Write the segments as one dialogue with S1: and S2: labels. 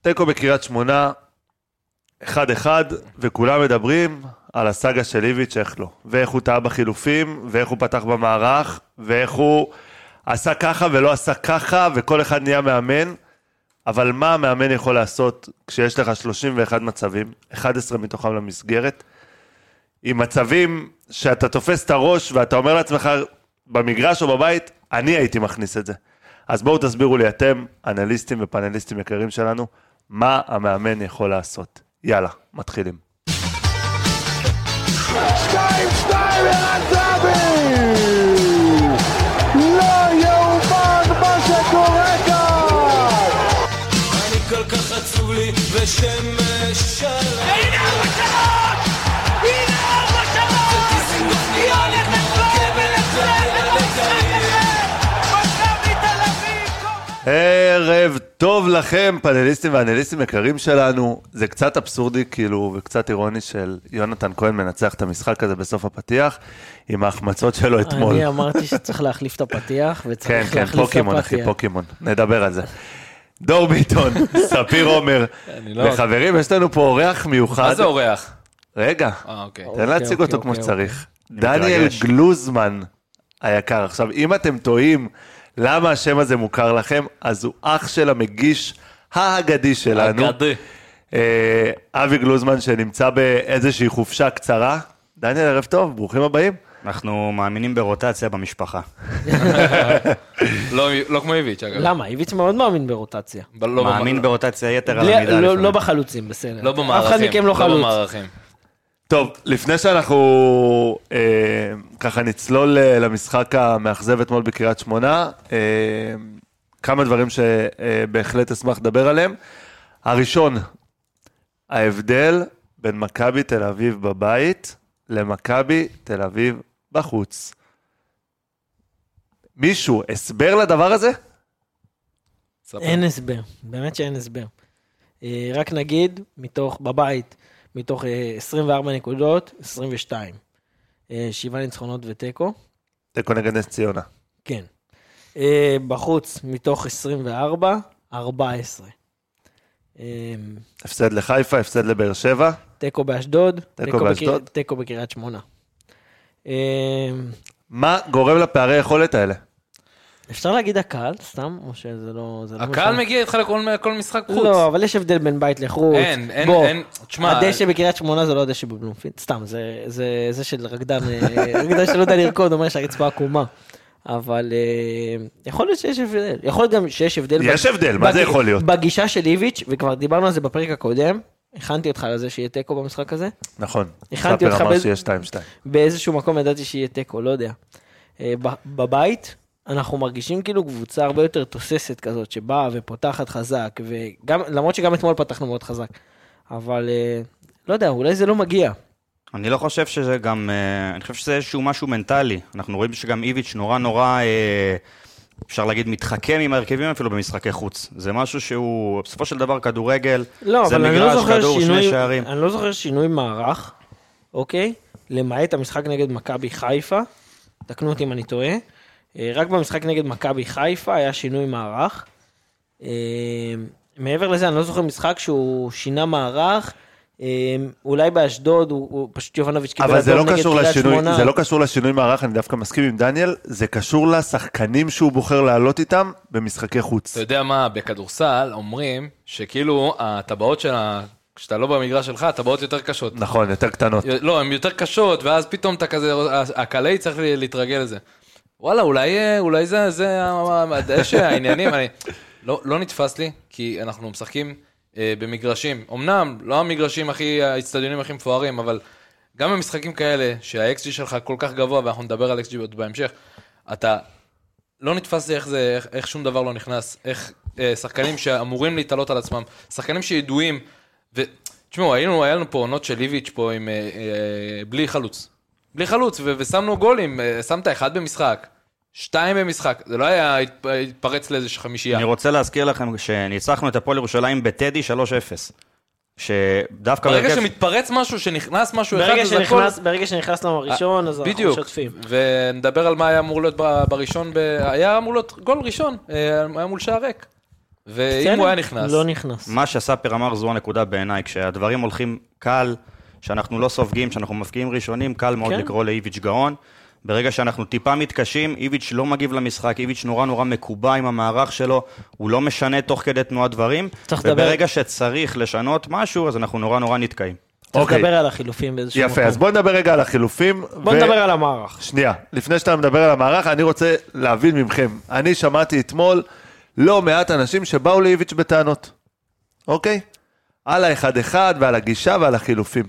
S1: תיקו בקריית שמונה, 1-1, וכולם מדברים על הסאגה של איביץ', איך לא. ואיך הוא טעה בחילופים, ואיך הוא פתח במערך, ואיך הוא עשה ככה ולא עשה ככה, וכל אחד נהיה מאמן. אבל מה המאמן יכול לעשות כשיש לך 31 מצבים, 11 מתוכם למסגרת, עם מצבים שאתה תופס את הראש ואתה אומר לעצמך, במגרש או בבית, אני הייתי מכניס את זה. אז בואו תסבירו לי אתם, אנליסטים ופאנליסטים יקרים שלנו, מה המאמן יכול לעשות. יאללה, מתחילים.
S2: שתיים, שתיים, ערן זהבי! לא יאומן מה שקורה כאן!
S3: אני כל כך עצוב לי ושמש עליי
S4: הנה ארבע שלוש! הנה ארבע שלוש! היא הולכת ואבן אצלם במשחק הזה! מכבי תל אביב!
S1: ערב טוב לכם, פאנליסטים ואנליסטים יקרים שלנו. זה קצת אבסורדי, כאילו, וקצת אירוני של יונתן כהן מנצח את המשחק הזה בסוף הפתיח, עם ההחמצות שלו אתמול.
S5: אני אמרתי שצריך להחליף את הפתיח,
S1: כן,
S5: וצריך
S1: כן,
S5: להחליף את
S1: פוקימון, אחי,
S5: הפתיח.
S1: פוקימון. נדבר על זה. דור ביטון, ספיר עומר,
S6: לא-
S1: וחברים, יש לנו פה אורח מיוחד.
S6: מה זה אורח?
S1: רגע,
S6: אה, אוקיי.
S1: תן להציג
S5: אוקיי,
S1: אותו
S5: אוקיי,
S1: כמו שצריך. דניאל
S6: מתרגש.
S1: גלוזמן היקר. עכשיו, אם אתם תוהים למה השם הזה מוכר לכם, אז הוא אח של המגיש האגדי שלנו.
S6: אגדי.
S1: אה, אבי גלוזמן, שנמצא באיזושהי חופשה קצרה. דניאל, ערב טוב, ברוכים הבאים.
S7: אנחנו מאמינים ברוטציה במשפחה.
S6: לא לא כמו איביץ', אגב.
S5: למה? איביץ' מאוד מאמין ברוטציה.
S6: ב- לא
S7: מאמין
S6: במ-
S7: ברוטציה יתר על
S5: בלי-
S7: המידה
S5: לא-
S7: לפעמים.
S5: לא בחלוצים, בסדר.
S6: לא במערכים.
S5: אף אחד מכם לא חלוץ.
S6: במערכים.
S1: טוב, לפני שאנחנו אה, ככה נצלול אה, למשחק המאכזב אתמול בקריית שמונה, אה, כמה דברים שבהחלט אשמח לדבר עליהם. הראשון, ההבדל בין מכבי תל אביב בבית למכבי תל אביב בחוץ. מישהו, הסבר לדבר הזה?
S6: ספר.
S5: אין הסבר, באמת שאין הסבר. אה, רק נגיד, מתוך, בבית, מתוך אה, 24 נקודות, 22. אה, שבעה ניצחונות ותיקו,
S1: תיקו נגד נס ציונה.
S5: כן. אה, בחוץ, מתוך 24, 14. אה,
S1: הפסד לחיפה, הפסד לבאר שבע.
S5: תיקו באשדוד, תיקו בקרי-
S1: באשדוד.
S5: תיקו בקריית שמונה. אה,
S1: מה גורם לפערי יכולת האלה?
S5: אפשר להגיד הקהל, סתם, או שזה לא... זה לא
S6: הקהל
S5: משנה?
S6: מגיע איתך לכל כל משחק חוץ.
S5: לא, אבל יש הבדל בין בית לחוץ.
S6: אין, אין,
S5: בוא,
S6: אין. תשמע,
S5: הדשא בקריית שמונה זה לא הדשא בבלומפילד, סתם, זה- זה זה של רקדן, אה, רקדן שלא יודע לרקוד, אומר שהרצפה עקומה. אבל אה, יכול להיות שיש הבדל, יכול להיות גם שיש הבדל.
S1: יש הבדל, מה זה
S5: בג-
S1: יכול להיות?
S5: בגישה של איביץ', וכבר דיברנו על זה בפרק הקודם, הכנתי אותך לזה שיהיה תיקו במשחק הזה.
S1: נכון.
S5: הכנתי אותך
S1: ספיר אמר
S5: באיזה-
S1: שיהיה 2-2.
S5: באיזשהו מקום ידעתי שיהיה תיקו, לא יודע. אה, ב- בבית, אנחנו מרגישים כאילו קבוצה הרבה יותר תוססת כזאת, שבאה ופותחת חזק, וגם, למרות שגם אתמול פתחנו מאוד חזק, אבל אה, לא יודע, אולי זה לא מגיע.
S7: אני לא חושב שזה גם... אה, אני חושב שזה איזשהו משהו מנטלי. אנחנו רואים שגם איביץ' נורא נורא, אה, אפשר להגיד, מתחכם עם ההרכבים אפילו במשחקי חוץ. זה משהו שהוא, בסופו של דבר, כדורגל,
S5: לא,
S7: זה
S5: אבל אני לא
S7: מגרש,
S5: זוכר
S7: כדור, שני
S5: שינוי,
S7: שערים.
S5: אני לא זוכר שינוי מערך, אוקיי? למעט המשחק נגד מכבי חיפה, תקנו אותי אם אני טועה, אה, רק במשחק נגד מכבי חיפה היה שינוי מערך. אה, מעבר לזה, אני לא זוכר משחק שהוא שינה מערך. אה, אולי באשדוד הוא, הוא פשוט יובנוביץ' קיבל
S1: אבל זה לא
S5: אדום נגד
S1: קשור
S5: קריית
S1: לשינוי,
S5: שמונה.
S1: זה לא קשור לשינוי מערך, אני דווקא מסכים עם דניאל, זה קשור לשחקנים שהוא בוחר לעלות איתם במשחקי חוץ.
S6: אתה יודע מה, בכדורסל אומרים שכאילו הטבעות של ה... כשאתה לא במגרש שלך, הטבעות יותר קשות.
S1: נכון, יותר קטנות.
S6: לא, הן יותר קשות, ואז פתאום אתה כזה, הקלעי צריך להתרגל לזה. וואלה, אולי, אה, אולי זה, זה ה- הדשא, העניינים, אני... לא, לא נתפס לי, כי אנחנו משחקים אה, במגרשים. אמנם, לא המגרשים הכי, האיצטדיונים הכי מפוארים, אבל גם במשחקים כאלה, שה-XG שלך כל כך גבוה, ואנחנו נדבר על XG עוד בהמשך, אתה... לא נתפס לי איך זה, איך, איך שום דבר לא נכנס, איך אה, שחקנים שאמורים להתעלות על עצמם, שחקנים שידועים, ו... תשמעו, היינו, היה לנו פה עונות של איביץ' פה עם... אה, אה, בלי חלוץ. בלי חלוץ, ו- ושמנו גולים, אה, שמת אחד במשחק, שתיים במשחק, זה לא היה התפ- התפרץ לאיזה חמישייה.
S7: אני רוצה להזכיר לכם שניצחנו את הפועל ירושלים בטדי 3-0. שדווקא
S6: ברגע
S7: בהרכב-
S6: שמתפרץ משהו, שנכנס משהו אחד,
S5: ברגע
S6: אז הכל...
S5: שנכנס, ברגע שנכנס לנו הראשון, אז אנחנו
S6: בדיוק,
S5: משתפים.
S6: ונדבר על מה היה אמור להיות ב- בראשון, ב... היה אמור להיות גול ראשון, אה, היה מול שער ריק. ואם הוא היה נכנס,
S5: לא נכנס.
S7: מה שספיר אמר זו הנקודה בעיניי, כשהדברים הולכים קל, שאנחנו לא סופגים, שאנחנו מפקיעים ראשונים, קל מאוד
S5: כן.
S7: לקרוא לאיביץ' גאון. ברגע שאנחנו טיפה מתקשים, איביץ' לא מגיב למשחק, איביץ' נורא נורא מקובע עם המערך שלו, הוא לא משנה תוך כדי תנועת דברים,
S5: צריך לדבר-
S7: וברגע שצריך לשנות משהו, אז אנחנו נורא נורא נתקעים.
S5: צריך
S1: אוקיי.
S5: לדבר על החילופים באיזשהו מקום.
S1: יפה, אז בוא נדבר רגע על החילופים.
S5: בוא
S1: ו-
S5: נדבר על המערך.
S1: שנייה, לפני שאתה מדבר על המערך, אני רוצה להבין ממכם. אני שמעתי אתמול לא מעט אנשים שבאו לאיביץ' בטענות, אוקיי? על האחד-אחד ועל הגישה ועל החילופים.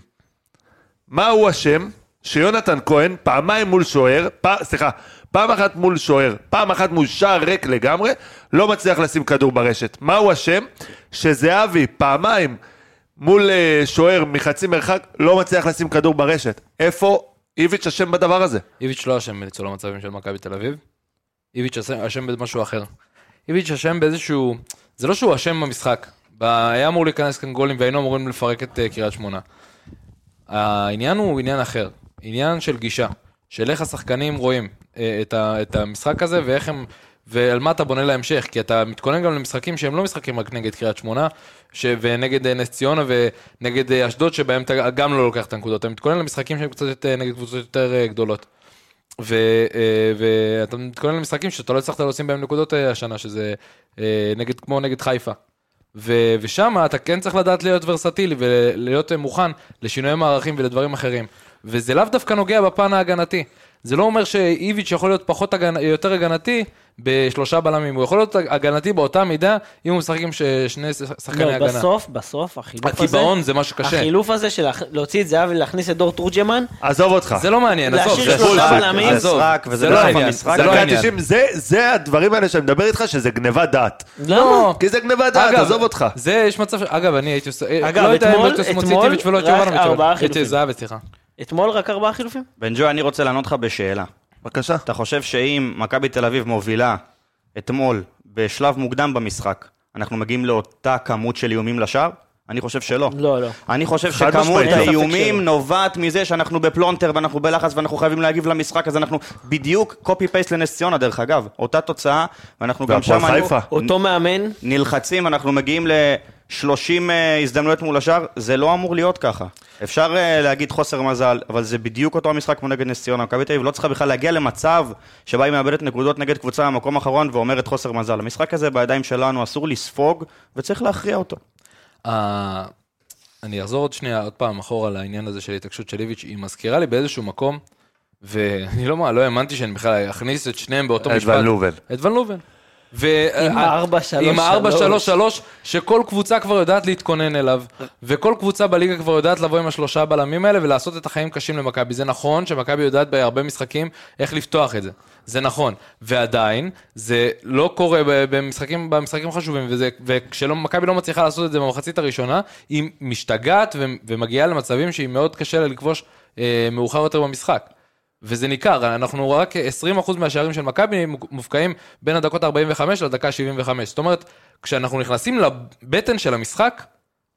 S1: מה הוא אשם שיונתן כהן פעמיים מול שוער, פ... סליחה, פעם אחת מול שוער, פעם אחת מול שער ריק לגמרי, לא מצליח לשים כדור ברשת. מה הוא אשם שזהבי פעמיים מול אה, שוער מחצי מרחק לא מצליח לשים כדור ברשת? איפה איביץ' אשם בדבר הזה?
S6: איביץ' לא אשם בניצול המצבים של מכבי תל אביב. איביץ' אשם- אשם במשהו אחר. איביץ' אשם באיזשהו... זה לא שהוא אשם במשחק. ב- היה אמור להיכנס כאן גולים והיינו אמורים לפרק את אה, קריית שמונה. העניין הוא עניין אחר. עניין של גישה. של איך השחקנים רואים אה, את, ה, את המשחק הזה ואיך הם... ועל מה אתה בונה להמשך, כי אתה מתכונן גם למשחקים שהם לא משחקים רק נגד קריית שמונה, ש... ונגד אה, נס ציונה ונגד אה, אשדוד, שבהם אתה גם לא לוקח את הנקודות, אתה מתכונן למשחקים שהם קצת יותר, נגד קבוצות יותר אה, גדולות. ו- אה, ואתה מתכונן למשחקים שאתה לא הצלחת לשים בהם נקודות אה, השנה, שזה אה, נגד, כמו נגד חיפה. ו- ושם אתה כן צריך לדעת להיות ורסטילי ולהיות אה, מוכן לשינויי מערכים ולדברים אחרים. וזה לאו דווקא נוגע בפן ההגנתי. זה לא אומר שאיביץ' יכול להיות פחות הגנ... יותר הגנתי בשלושה בלמים. הוא יכול להיות הגנתי באותה מידה אם הוא משחק עם ש... שני ש- שחקני
S5: לא,
S6: הגנה.
S5: בסוף, בסוף, החילוף הזה...
S6: הקיבעון זה משהו קשה.
S5: החילוף הזה של להכ- להוציא את זהבי ולהכניס את דור תורג'מן,
S1: עזוב אותך.
S6: זה לא מעניין,
S5: להשאיר
S6: עזוב. זה
S5: שלושה
S6: בולשיט.
S5: בלמים?
S6: עזוב.
S7: זה סרק, וזה
S6: זה לא
S7: בסוף
S6: העניין.
S7: המשחק.
S6: זה לא
S1: דקה
S6: העניין.
S1: 90, זה, זה הדברים האלה שאני מדבר איתך, שזה גנבת דעת.
S6: לא.
S5: למה?
S1: כי זה גנבת דעת,
S6: אגב,
S1: עזוב אותך.
S6: זה יש מצב, ש- אגב, אני הייתי עושה,
S5: אגב,
S6: לא יודע אם
S5: אתמול-
S6: הייתי עושה מוציא את
S5: אתמול
S6: איביץ' ולא את
S5: רק
S6: יובנוביץ', אבל-
S5: ארבעה
S6: את
S5: חילופים.
S6: זהבי, סליחה.
S5: אתמול רק ארבעה חילופים?
S7: בן ג'וי, אני רוצה לענות לך בשאלה.
S1: בבקשה.
S7: אתה חושב שאם מכבי תל אביב מובילה אתמול בשלב מוקדם במשחק, אנחנו מגיעים לאותה כמות של איומים לשער? אני חושב שלא.
S5: לא, לא.
S7: אני חושב
S1: חד
S7: שכמות
S1: משמעית, לא. אין ספק
S7: האיומים
S5: שלא.
S7: נובעת מזה שאנחנו בפלונטר ואנחנו בלחץ ואנחנו חייבים להגיב למשחק, אז אנחנו בדיוק קופי פייסט לנס ציונה, דרך אגב. אותה תוצאה, ואנחנו גם
S1: והפועל
S7: שם היינו
S1: חיפה.
S5: אותו מאמן,
S7: נלחצים, אנחנו מגיעים ל-30 הזדמנויות מול השאר, זה לא אמור להיות ככה. אפשר אה, להגיד חוסר מזל, אבל זה בדיוק אותו המשחק כמו נגד נס ציונה. מכבי תל אביב לא צריכה בכלל להגיע למצב שבה היא מאבדת נקודות נגד קבוצה מהמקום האחרון ואומרת חוסר מזל. המשחק הזה בידיים שלנו, אסור לספוג וצריך להכריע אותו.
S6: אה, אני אחזור עוד שנייה, עוד פעם אחורה לעניין הזה של התעקשות של איביץ', היא מזכירה לי באיזשהו מקום, ואני לא מה- לא האמנתי שאני בכלל אכניס את שניהם באותו
S1: את
S6: משפט.
S1: ון לובן.
S6: את ון לובן. ו-
S5: עם
S6: אה,
S5: ה-4-3-3.
S6: עם ה-4-3-3, שכל קבוצה כבר יודעת להתכונן אליו, וכל קבוצה בליגה כבר יודעת לבוא עם השלושה בלמים האלה ולעשות את החיים קשים למכבי. זה נכון שמכבי יודעת בהרבה משחקים איך לפתוח את זה. זה נכון. ועדיין, זה לא קורה ב- במשחקים, במשחקים חשובים, וזה- וכשמכבי לא מצליחה לעשות את זה במחצית הראשונה, היא משתגעת ו- ומגיעה למצבים שהיא מאוד קשה לה לכבוש אה, מאוחר יותר במשחק. וזה ניכר, אנחנו רק 20% מהשערים של מכבי מופקעים בין הדקות 45 לדקה 75. זאת אומרת, כשאנחנו נכנסים לבטן של המשחק,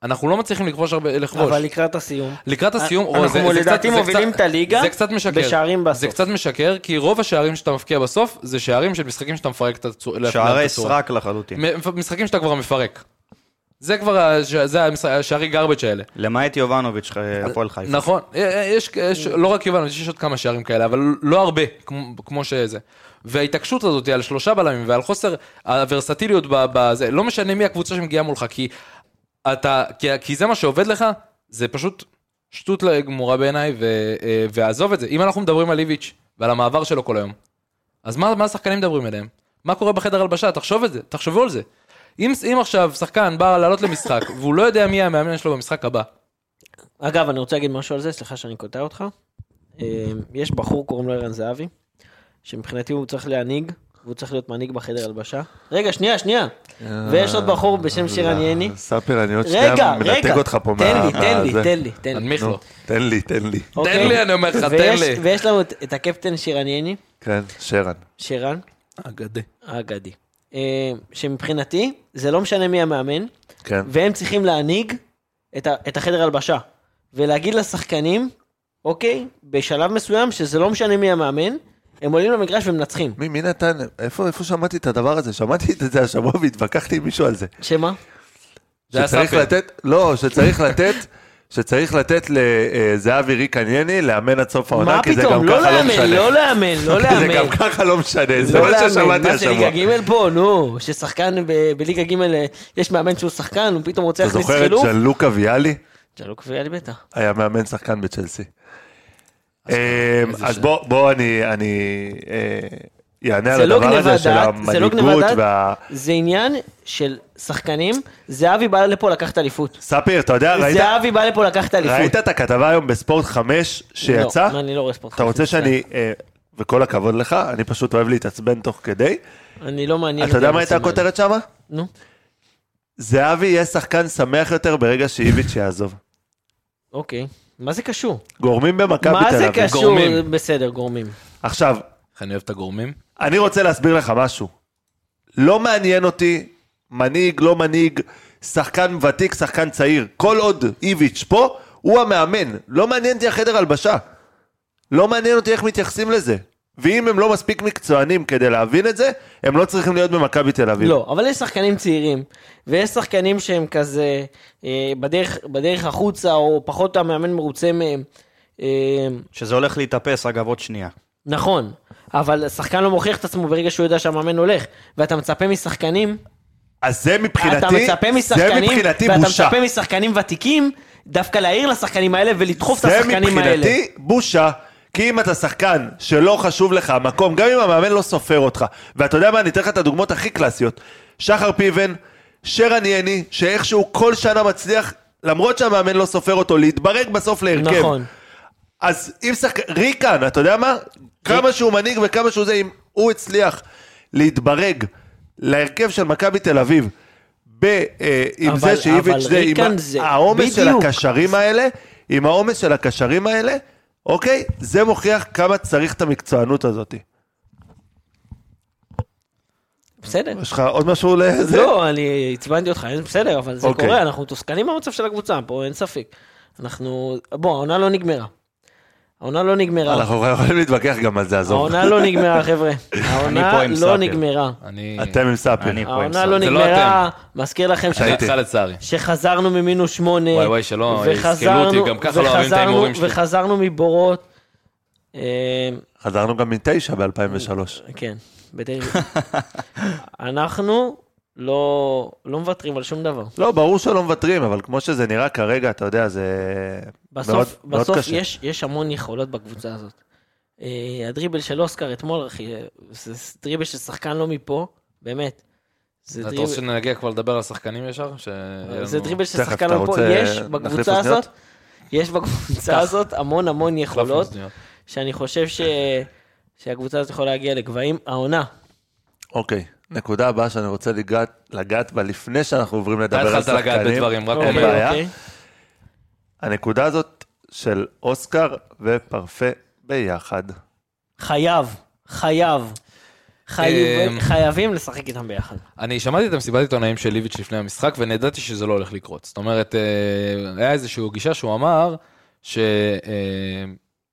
S6: אנחנו לא מצליחים לכבוש הרבה, לכבוש.
S5: אבל לקראת הסיום.
S6: לקראת הסיום,
S5: אנחנו
S6: או, זה- זה
S5: לדעתי
S6: קצת- זה
S5: מובילים
S6: קצת-
S5: את הליגה
S6: זה קצת משקר.
S5: בשערים בסוף.
S6: זה קצת משקר, כי רוב השערים שאתה מפקיע בסוף, זה שערים של משחקים שאתה מפרק את הצורה.
S7: שערי סרק לחלוטין.
S6: משחקים שאתה כבר מפרק. זה כבר, ה- זה המשחק- השערי גרבג' האלה.
S7: למעט יובנוביץ', אה, הפועל חיפה.
S6: נכון, יש, יש לא רק יובנוביץ', יש עוד כמה שערים כאלה, אבל לא הרבה, כמו, כמו שזה. וההתעקשות הזאת על שלושה בלמים ועל חוסר הוורסטיליות ב- בזה, לא משנה מי הקבוצה שמגיעה מולך, כי אתה, כי, כי זה מה שעובד לך, זה פשוט שטות גמורה בעיניי, ו- אה, ועזוב את זה. אם אנחנו מדברים על איביץ' ועל המעבר שלו כל היום, אז מה, מה השחקנים מדברים אליהם? מה קורה בחדר הלבשה? תחשוב את זה, תחשבו על זה. אם, אם עכשיו שחקן בא לעלות למשחק, והוא לא יודע מי המאמן שלו במשחק הבא,
S5: אגב, אני רוצה להגיד משהו על זה, סליחה שאני קוטע אותך. אה, יש בחור, קוראים לו ערן זהבי, שמבחינתי הוא צריך להנהיג, והוא צריך להיות מנהיג בחדר הלבשה. רגע, שנייה, שנייה. ויש עוד בחור בשם שירן יני.
S1: ספיר, אני עוד
S5: רגע,
S1: אה, לא. שנייה מנתק
S5: רגע,
S1: אותך פה
S5: תן
S1: מה-
S5: לי, תן לי,
S1: מהזה.
S5: תן לי, תן לי.
S6: תנמיך לו.
S1: נו, תן לי, תן לי.
S5: אוקיי?
S6: לי, אני אומר לך, תן
S5: ויש-
S6: לי.
S5: ויש לנו את את הקפטן שירן יני,
S1: כן, שרן.
S5: שירן
S6: אגדי.
S5: האגדי, אה, שמבחינתי, זה לא משנה מי המאמן,
S1: כן.
S5: והם צריכים להנהיג את, ה, את החדר הלבשה, ולהגיד לשחקנים, אוקיי, בשלב מסוים, שזה לא משנה מי המאמן, הם עולים למגרש ומנצחים.
S1: מי, מי נתן, איפה, איפה שמעתי את הדבר הזה? שמעתי את זה השבוע והתווכחתי עם מישהו על זה.
S5: שמה?
S6: זה היה
S1: שצריך
S6: סאפי.
S1: לתת, לא, שצריך לתת, שצריך לתת לזהבי ריקנייני לאמן עד סוף העונה,
S5: מה
S1: כי זה גם
S5: פתאום? לא
S1: ככה לא
S5: לאמן,
S1: משנה.
S5: לא לאמן, לא
S1: כי זה גם
S5: לאמן.
S1: ככה לא משנה, זה
S5: לא
S1: מה
S5: לאמן,
S1: ששמעתי
S5: מה זה
S1: השבוע.
S5: ליגה ג' פה, נו, ששחקן ב- בליגה ג' אה, יש מאמן שהוא שחקן, הוא פתאום רוצה
S1: אתה
S5: להכניס
S1: זוכר את
S5: חילוף?
S1: ג'לוקה ויאלי?
S5: ג'לוק ויאלי בטח.
S1: היה מאמן שחקן בצ'לסי. אה, אז בוא, בוא אני, אני אענה על
S5: זה לא
S1: הדבר
S5: גניבת
S1: הזה של
S5: דעת, זה לא
S1: המנהיגות
S5: גניבת דעת.
S1: וה...
S5: זה עניין של שחקנים, זהבי בא לפה לקחת אליפות.
S1: ספיר, אתה יודע, ראית-
S5: זהבי בא לפה לקחת אליפות.
S1: ראית את הכתבה היום בספורט 5 שיצא?
S5: לא, אני לא רואה ספורט.
S1: אתה רוצה
S5: מצטער.
S1: שאני, אה, וכל הכבוד לך, אני פשוט אוהב להתעצבן תוך כדי.
S5: אני לא מעניין.
S1: אתה יודע
S5: אותי
S1: מה הייתה
S5: הנושאים האלה.
S1: הכותרת שמה?
S5: נו.
S1: זהבי יהיה שחקן שמח יותר ברגע שאיביץ' יעזוב.
S5: אוקיי. מה זה קשור?
S1: גורמים במכבי
S5: מה
S1: תל
S5: זה
S1: אביב.
S5: קשור?
S6: גורמים.
S5: בסדר, גורמים.
S1: עכשיו,
S6: איך אני אוהב את הגורמים.
S1: אני רוצה להסביר לך משהו. לא מעניין אותי מנהיג, לא מנהיג, שחקן ותיק, שחקן צעיר. כל עוד איביץ' פה, הוא המאמן. לא מעניין אותי החדר הלבשה. לא מעניין אותי איך מתייחסים לזה. ואם הם לא מספיק מקצוענים כדי להבין את זה, הם לא צריכים להיות במכבי תל אביב.
S5: לא, אבל יש שחקנים צעירים, ויש שחקנים שהם כזה אה, בדרך, בדרך החוצה, או פחות המאמן מרוצה מהם. אה,
S7: שזה הולך להתאפס, אגב, עוד שנייה.
S5: נכון, אבל שחקן לא מוכיח את עצמו ברגע שהוא יודע שהמאמן הולך, ואתה מצפה משחקנים,
S1: אז זה מבחינתי,
S5: אתה מצפה
S1: זה
S5: משחקנים,
S1: מבחינתי
S5: ואתה
S1: בושה.
S5: מצפה משחקנים ותיקים, דווקא להעיר לשחקנים האלה ולדחוף את השחקנים
S1: זה
S5: האלה.
S1: מבחינתי בושה. כי אם אתה שחקן שלא חשוב לך המקום, גם אם המאמן לא סופר אותך, ואתה יודע מה, אני אתן לך את הדוגמאות הכי קלאסיות. שחר פיבן, שרן יני, שאיכשהו כל שנה מצליח, למרות שהמאמן לא סופר אותו, להתברג בסוף להרכב.
S5: נכון.
S1: אז אם שחק... ריקן, אתה יודע מה? כמה שהוא מנהיג וכמה שהוא זה, אם הוא הצליח להתברג להרכב של מכבי תל אביב, ב, אה, עם
S5: אבל-
S1: זה שאיביץ'
S5: אבל
S1: זה, עם
S5: ריקן
S1: ה-
S5: זה-
S1: העומס של
S5: בדיוק.
S1: הקשרים האלה, עם העומס של הקשרים האלה, אוקיי? זה מוכיח כמה צריך את המקצוענות הזאת.
S5: בסדר.
S1: יש לך עוד משהו לזה?
S5: לא, אני עצבנתי אותך, אין- בסדר, אבל זה
S1: אוקיי.
S5: קורה, אנחנו מתוסכלים מהמצב של הקבוצה, פה אין ספק. אנחנו, בוא, העונה לא נגמרה. העונה לא נגמרה.
S1: אנחנו יכולים להתווכח גם על זה, עזוב.
S5: העונה לא נגמרה, חבר'ה. העונה
S7: פה עם
S5: לא
S7: סאפר.
S5: נגמרה.
S6: אני...
S1: אתם עם סאפיר.
S7: אני פה עם
S5: העונה לא
S6: זה לא
S5: נגמרה, מזכיר לכם ש-
S6: אני איתך לצערי.
S5: אה, שחזרנו ממינוס שמונה.
S6: וואי, וואי, שלא,
S5: וחזרנו-
S6: יזכרו אותי, גם ככה לא אוהבים את
S5: וחזרנו-
S6: ההימורים שלי.
S5: וחזרנו מבורות. אה,
S1: חזרנו גם מתשע ב-2003.
S5: כן, בדיוק. אנחנו לא לא מוותרים על שום דבר.
S1: לא, ברור שלא מוותרים, אבל כמו שזה נראה כרגע, אתה יודע, זה מאוד
S5: בסוף,
S1: מאוד
S5: בסוף
S1: קשה.
S5: יש, יש המון יכולות בקבוצה הזאת. אה, הדריבל של אוסקר אתמול, אחי, אה, זה ס- דריבל של שחקן לא מפה, באמת. זה
S6: אתה
S5: דריבל,
S6: רוצה שנגיע כבר לדבר על שחקנים ישר? ש-
S5: זה דריבל של
S1: תכף,
S5: שחקן
S1: אתה
S5: לא פה.
S1: רוצה-
S5: יש
S1: נחליף
S5: בקבוצה
S1: אוזניות?
S5: הזאת, יש בקבוצה הזאת המון המון
S6: החלפנו
S5: יכולות,
S6: אוזניות.
S5: שאני חושב ש... שהקבוצה הזאת יכולה להגיע לגבהים. העונה,
S1: אוקיי, נקודה הבאה שאני רוצה לגעת, לגעת בה לפני שאנחנו עוברים
S6: אתה
S1: לדבר על
S6: התחלת
S1: שחקנים.
S6: לגעת בדברים, רק
S1: אין
S5: אוקיי,
S6: אומר.
S1: בעיה.
S5: אוקיי.
S1: הנקודה הזאת של אוסקר ופרפה ביחד.
S5: חייב, חייב. חייב-
S6: אמ,
S5: חייבים לשחק איתם ביחד.
S6: אני שמעתי את המסיבת עיתונאים של ליביץ' לפני המשחק, ונדעתי שזה לא הולך לקרות. זאת אומרת, אה, היה איזושהי גישה שהוא אמר ש... אה,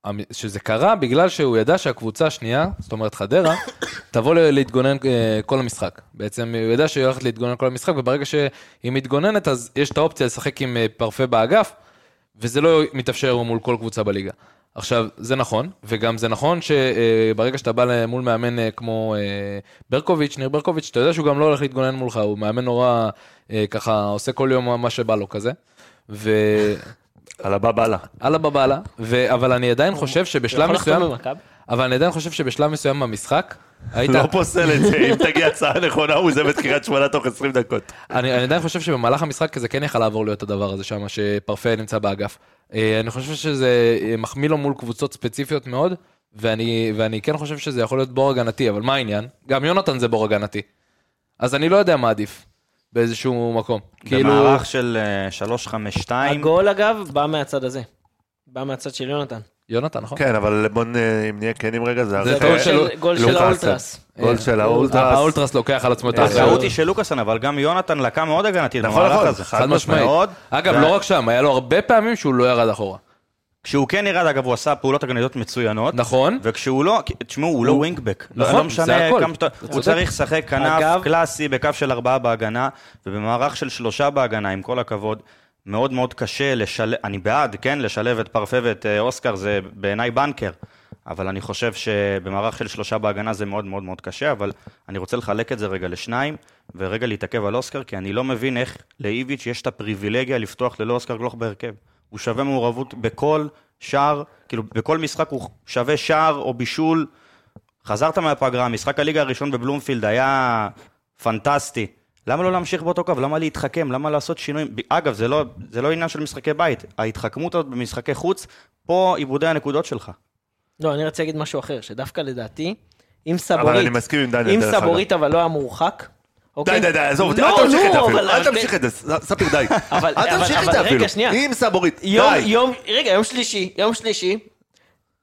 S6: המ- שזה קרה בגלל שהוא ידע שהקבוצה השנייה, זאת אומרת חדרה, תבוא ל- להתגונן אה, כל המשחק. בעצם הוא ידע שהיא הולכת להתגונן כל המשחק, וברגע שהיא מתגוננת, אז יש את האופציה לשחק עם אה, פרפה באגף, וזה לא מתאפשר מול כל קבוצה בליגה. עכשיו, זה נכון, וגם זה נכון שברגע שאתה בא מול מאמן אה, כמו אה, ברקוביץ', ניר ברקוביץ', אתה יודע שהוא גם לא הולך להתגונן מולך, הוא מאמן נורא אה, ככה, עושה כל יום מה שבא לו כזה. ואללה
S1: על הבא בלה.
S6: בבאללה, ו... אבל אני עדיין חושב
S5: הוא
S6: שבשלב
S5: יכול לחתום
S6: מסוים,
S5: במכבי?
S6: אבל אני עדיין חושב שבשלב מסוים במשחק, היית,
S1: לא פוסל את זה, אם תגיע הצעה נכונה, הוא עוזב את קריית שמונה תוך 20 דקות.
S6: אני, אני עדיין חושב שבמהלך המשחק זה כן יכל לעבור להיות הדבר הזה שם, שפרפה נמצא באגף. אה, אני חושב שזה אה, מחמיא לו מול קבוצות ספציפיות מאוד, ואני, ואני כן חושב שזה יכול להיות בור הגנתי, אבל מה העניין? גם יונתן זה בור הגנתי. אז אני לא יודע מה עדיף באיזשהו מקום. כאילו,
S7: במערך של אה, 3-5-2,
S5: הגול אגב בא מהצד הזה. בא מהצד של יונתן.
S6: יונתן, נכון?
S1: כן, אבל בוא, נ- אם נהיה כנים רגע, זה הרי...
S6: זה
S5: גול
S6: גול
S5: של-
S6: של-
S5: גול של
S1: לוקאסן.
S5: האולטרס. אה,
S1: גול של האולטרס.
S6: אה, האולטרס לוקח על עצמו את האחריות.
S7: אה, הטעות היא של לוקאסן, אבל גם יונתן לקה מאוד הגנתית
S1: נכון,
S7: במהלך
S1: נכון.
S7: הזה.
S1: חד
S6: חד משמעית.
S7: מאוד.
S6: אגב, לא רק שם, היה לו הרבה פעמים שהוא לא ירד אחורה.
S7: כשהוא כן ירד, אגב, הוא עשה פעולות הגנדיות מצוינות.
S6: נכון.
S7: וכשהוא לא, כי- תשמעו, הוא לא ווינגבק. לא
S6: נכון,
S7: לא
S6: זה
S7: משנה
S6: הכל.
S7: כמה שאתה...
S6: אתה
S7: הוא
S6: צודק.
S7: צריך לשחק כנף
S5: אגב-
S7: קלאסי בקו של ארבעה בהגנה, ובמערך של שלושה בהגנה, עם כל הכבוד. מאוד מאוד קשה לשלב, אני בעד, כן, לשלב את פרפה ואת אה, אוסקר, זה בעיניי בנקר. אבל אני חושב שבמערך של שלושה בהגנה זה מאוד מאוד מאוד קשה, אבל אני רוצה לחלק את זה רגע לשניים, ורגע להתעכב על אוסקר, כי אני לא מבין איך לאיביץ' יש את הפריבילגיה לפתוח ללא אוסקר גלוך בהרכב. הוא שווה מעורבות בכל שער, כאילו בכל משחק הוא שווה שער או בישול. חזרת מהפגרה, משחק הליגה הראשון בבלומפילד היה פנטסטי. למה לא להמשיך באותו קו? למה להתחכם? למה לעשות שינויים? ב- אגב, זה לא, זה לא עניין של משחקי בית. ההתחכמות הזאת במשחקי חוץ, פה עיבודי הנקודות שלך.
S5: לא, אני רציתי להגיד משהו אחר, שדווקא לדעתי, אם סבורית...
S1: אבל אני מסכים עם דניאל,
S5: אם
S1: דרך אגב.
S5: סבורית אבל לא היה מורחק...
S1: די,
S5: אוקיי?
S1: די, די, עזוב אותי,
S5: לא,
S1: אל תמשיך
S5: נו,
S1: את זה
S5: אבל-
S1: אפילו, אל
S5: אבל-
S1: תמשיך את זה, ס- ספיר די.
S5: אבל-
S1: אל
S5: אבל-
S1: תמשיך את
S5: אבל
S1: זה
S5: רגע,
S1: אפילו.
S5: שנייה.
S1: עם סבורית,
S5: יום,
S1: די.
S5: יום, רגע, יום שלישי, יום שלישי,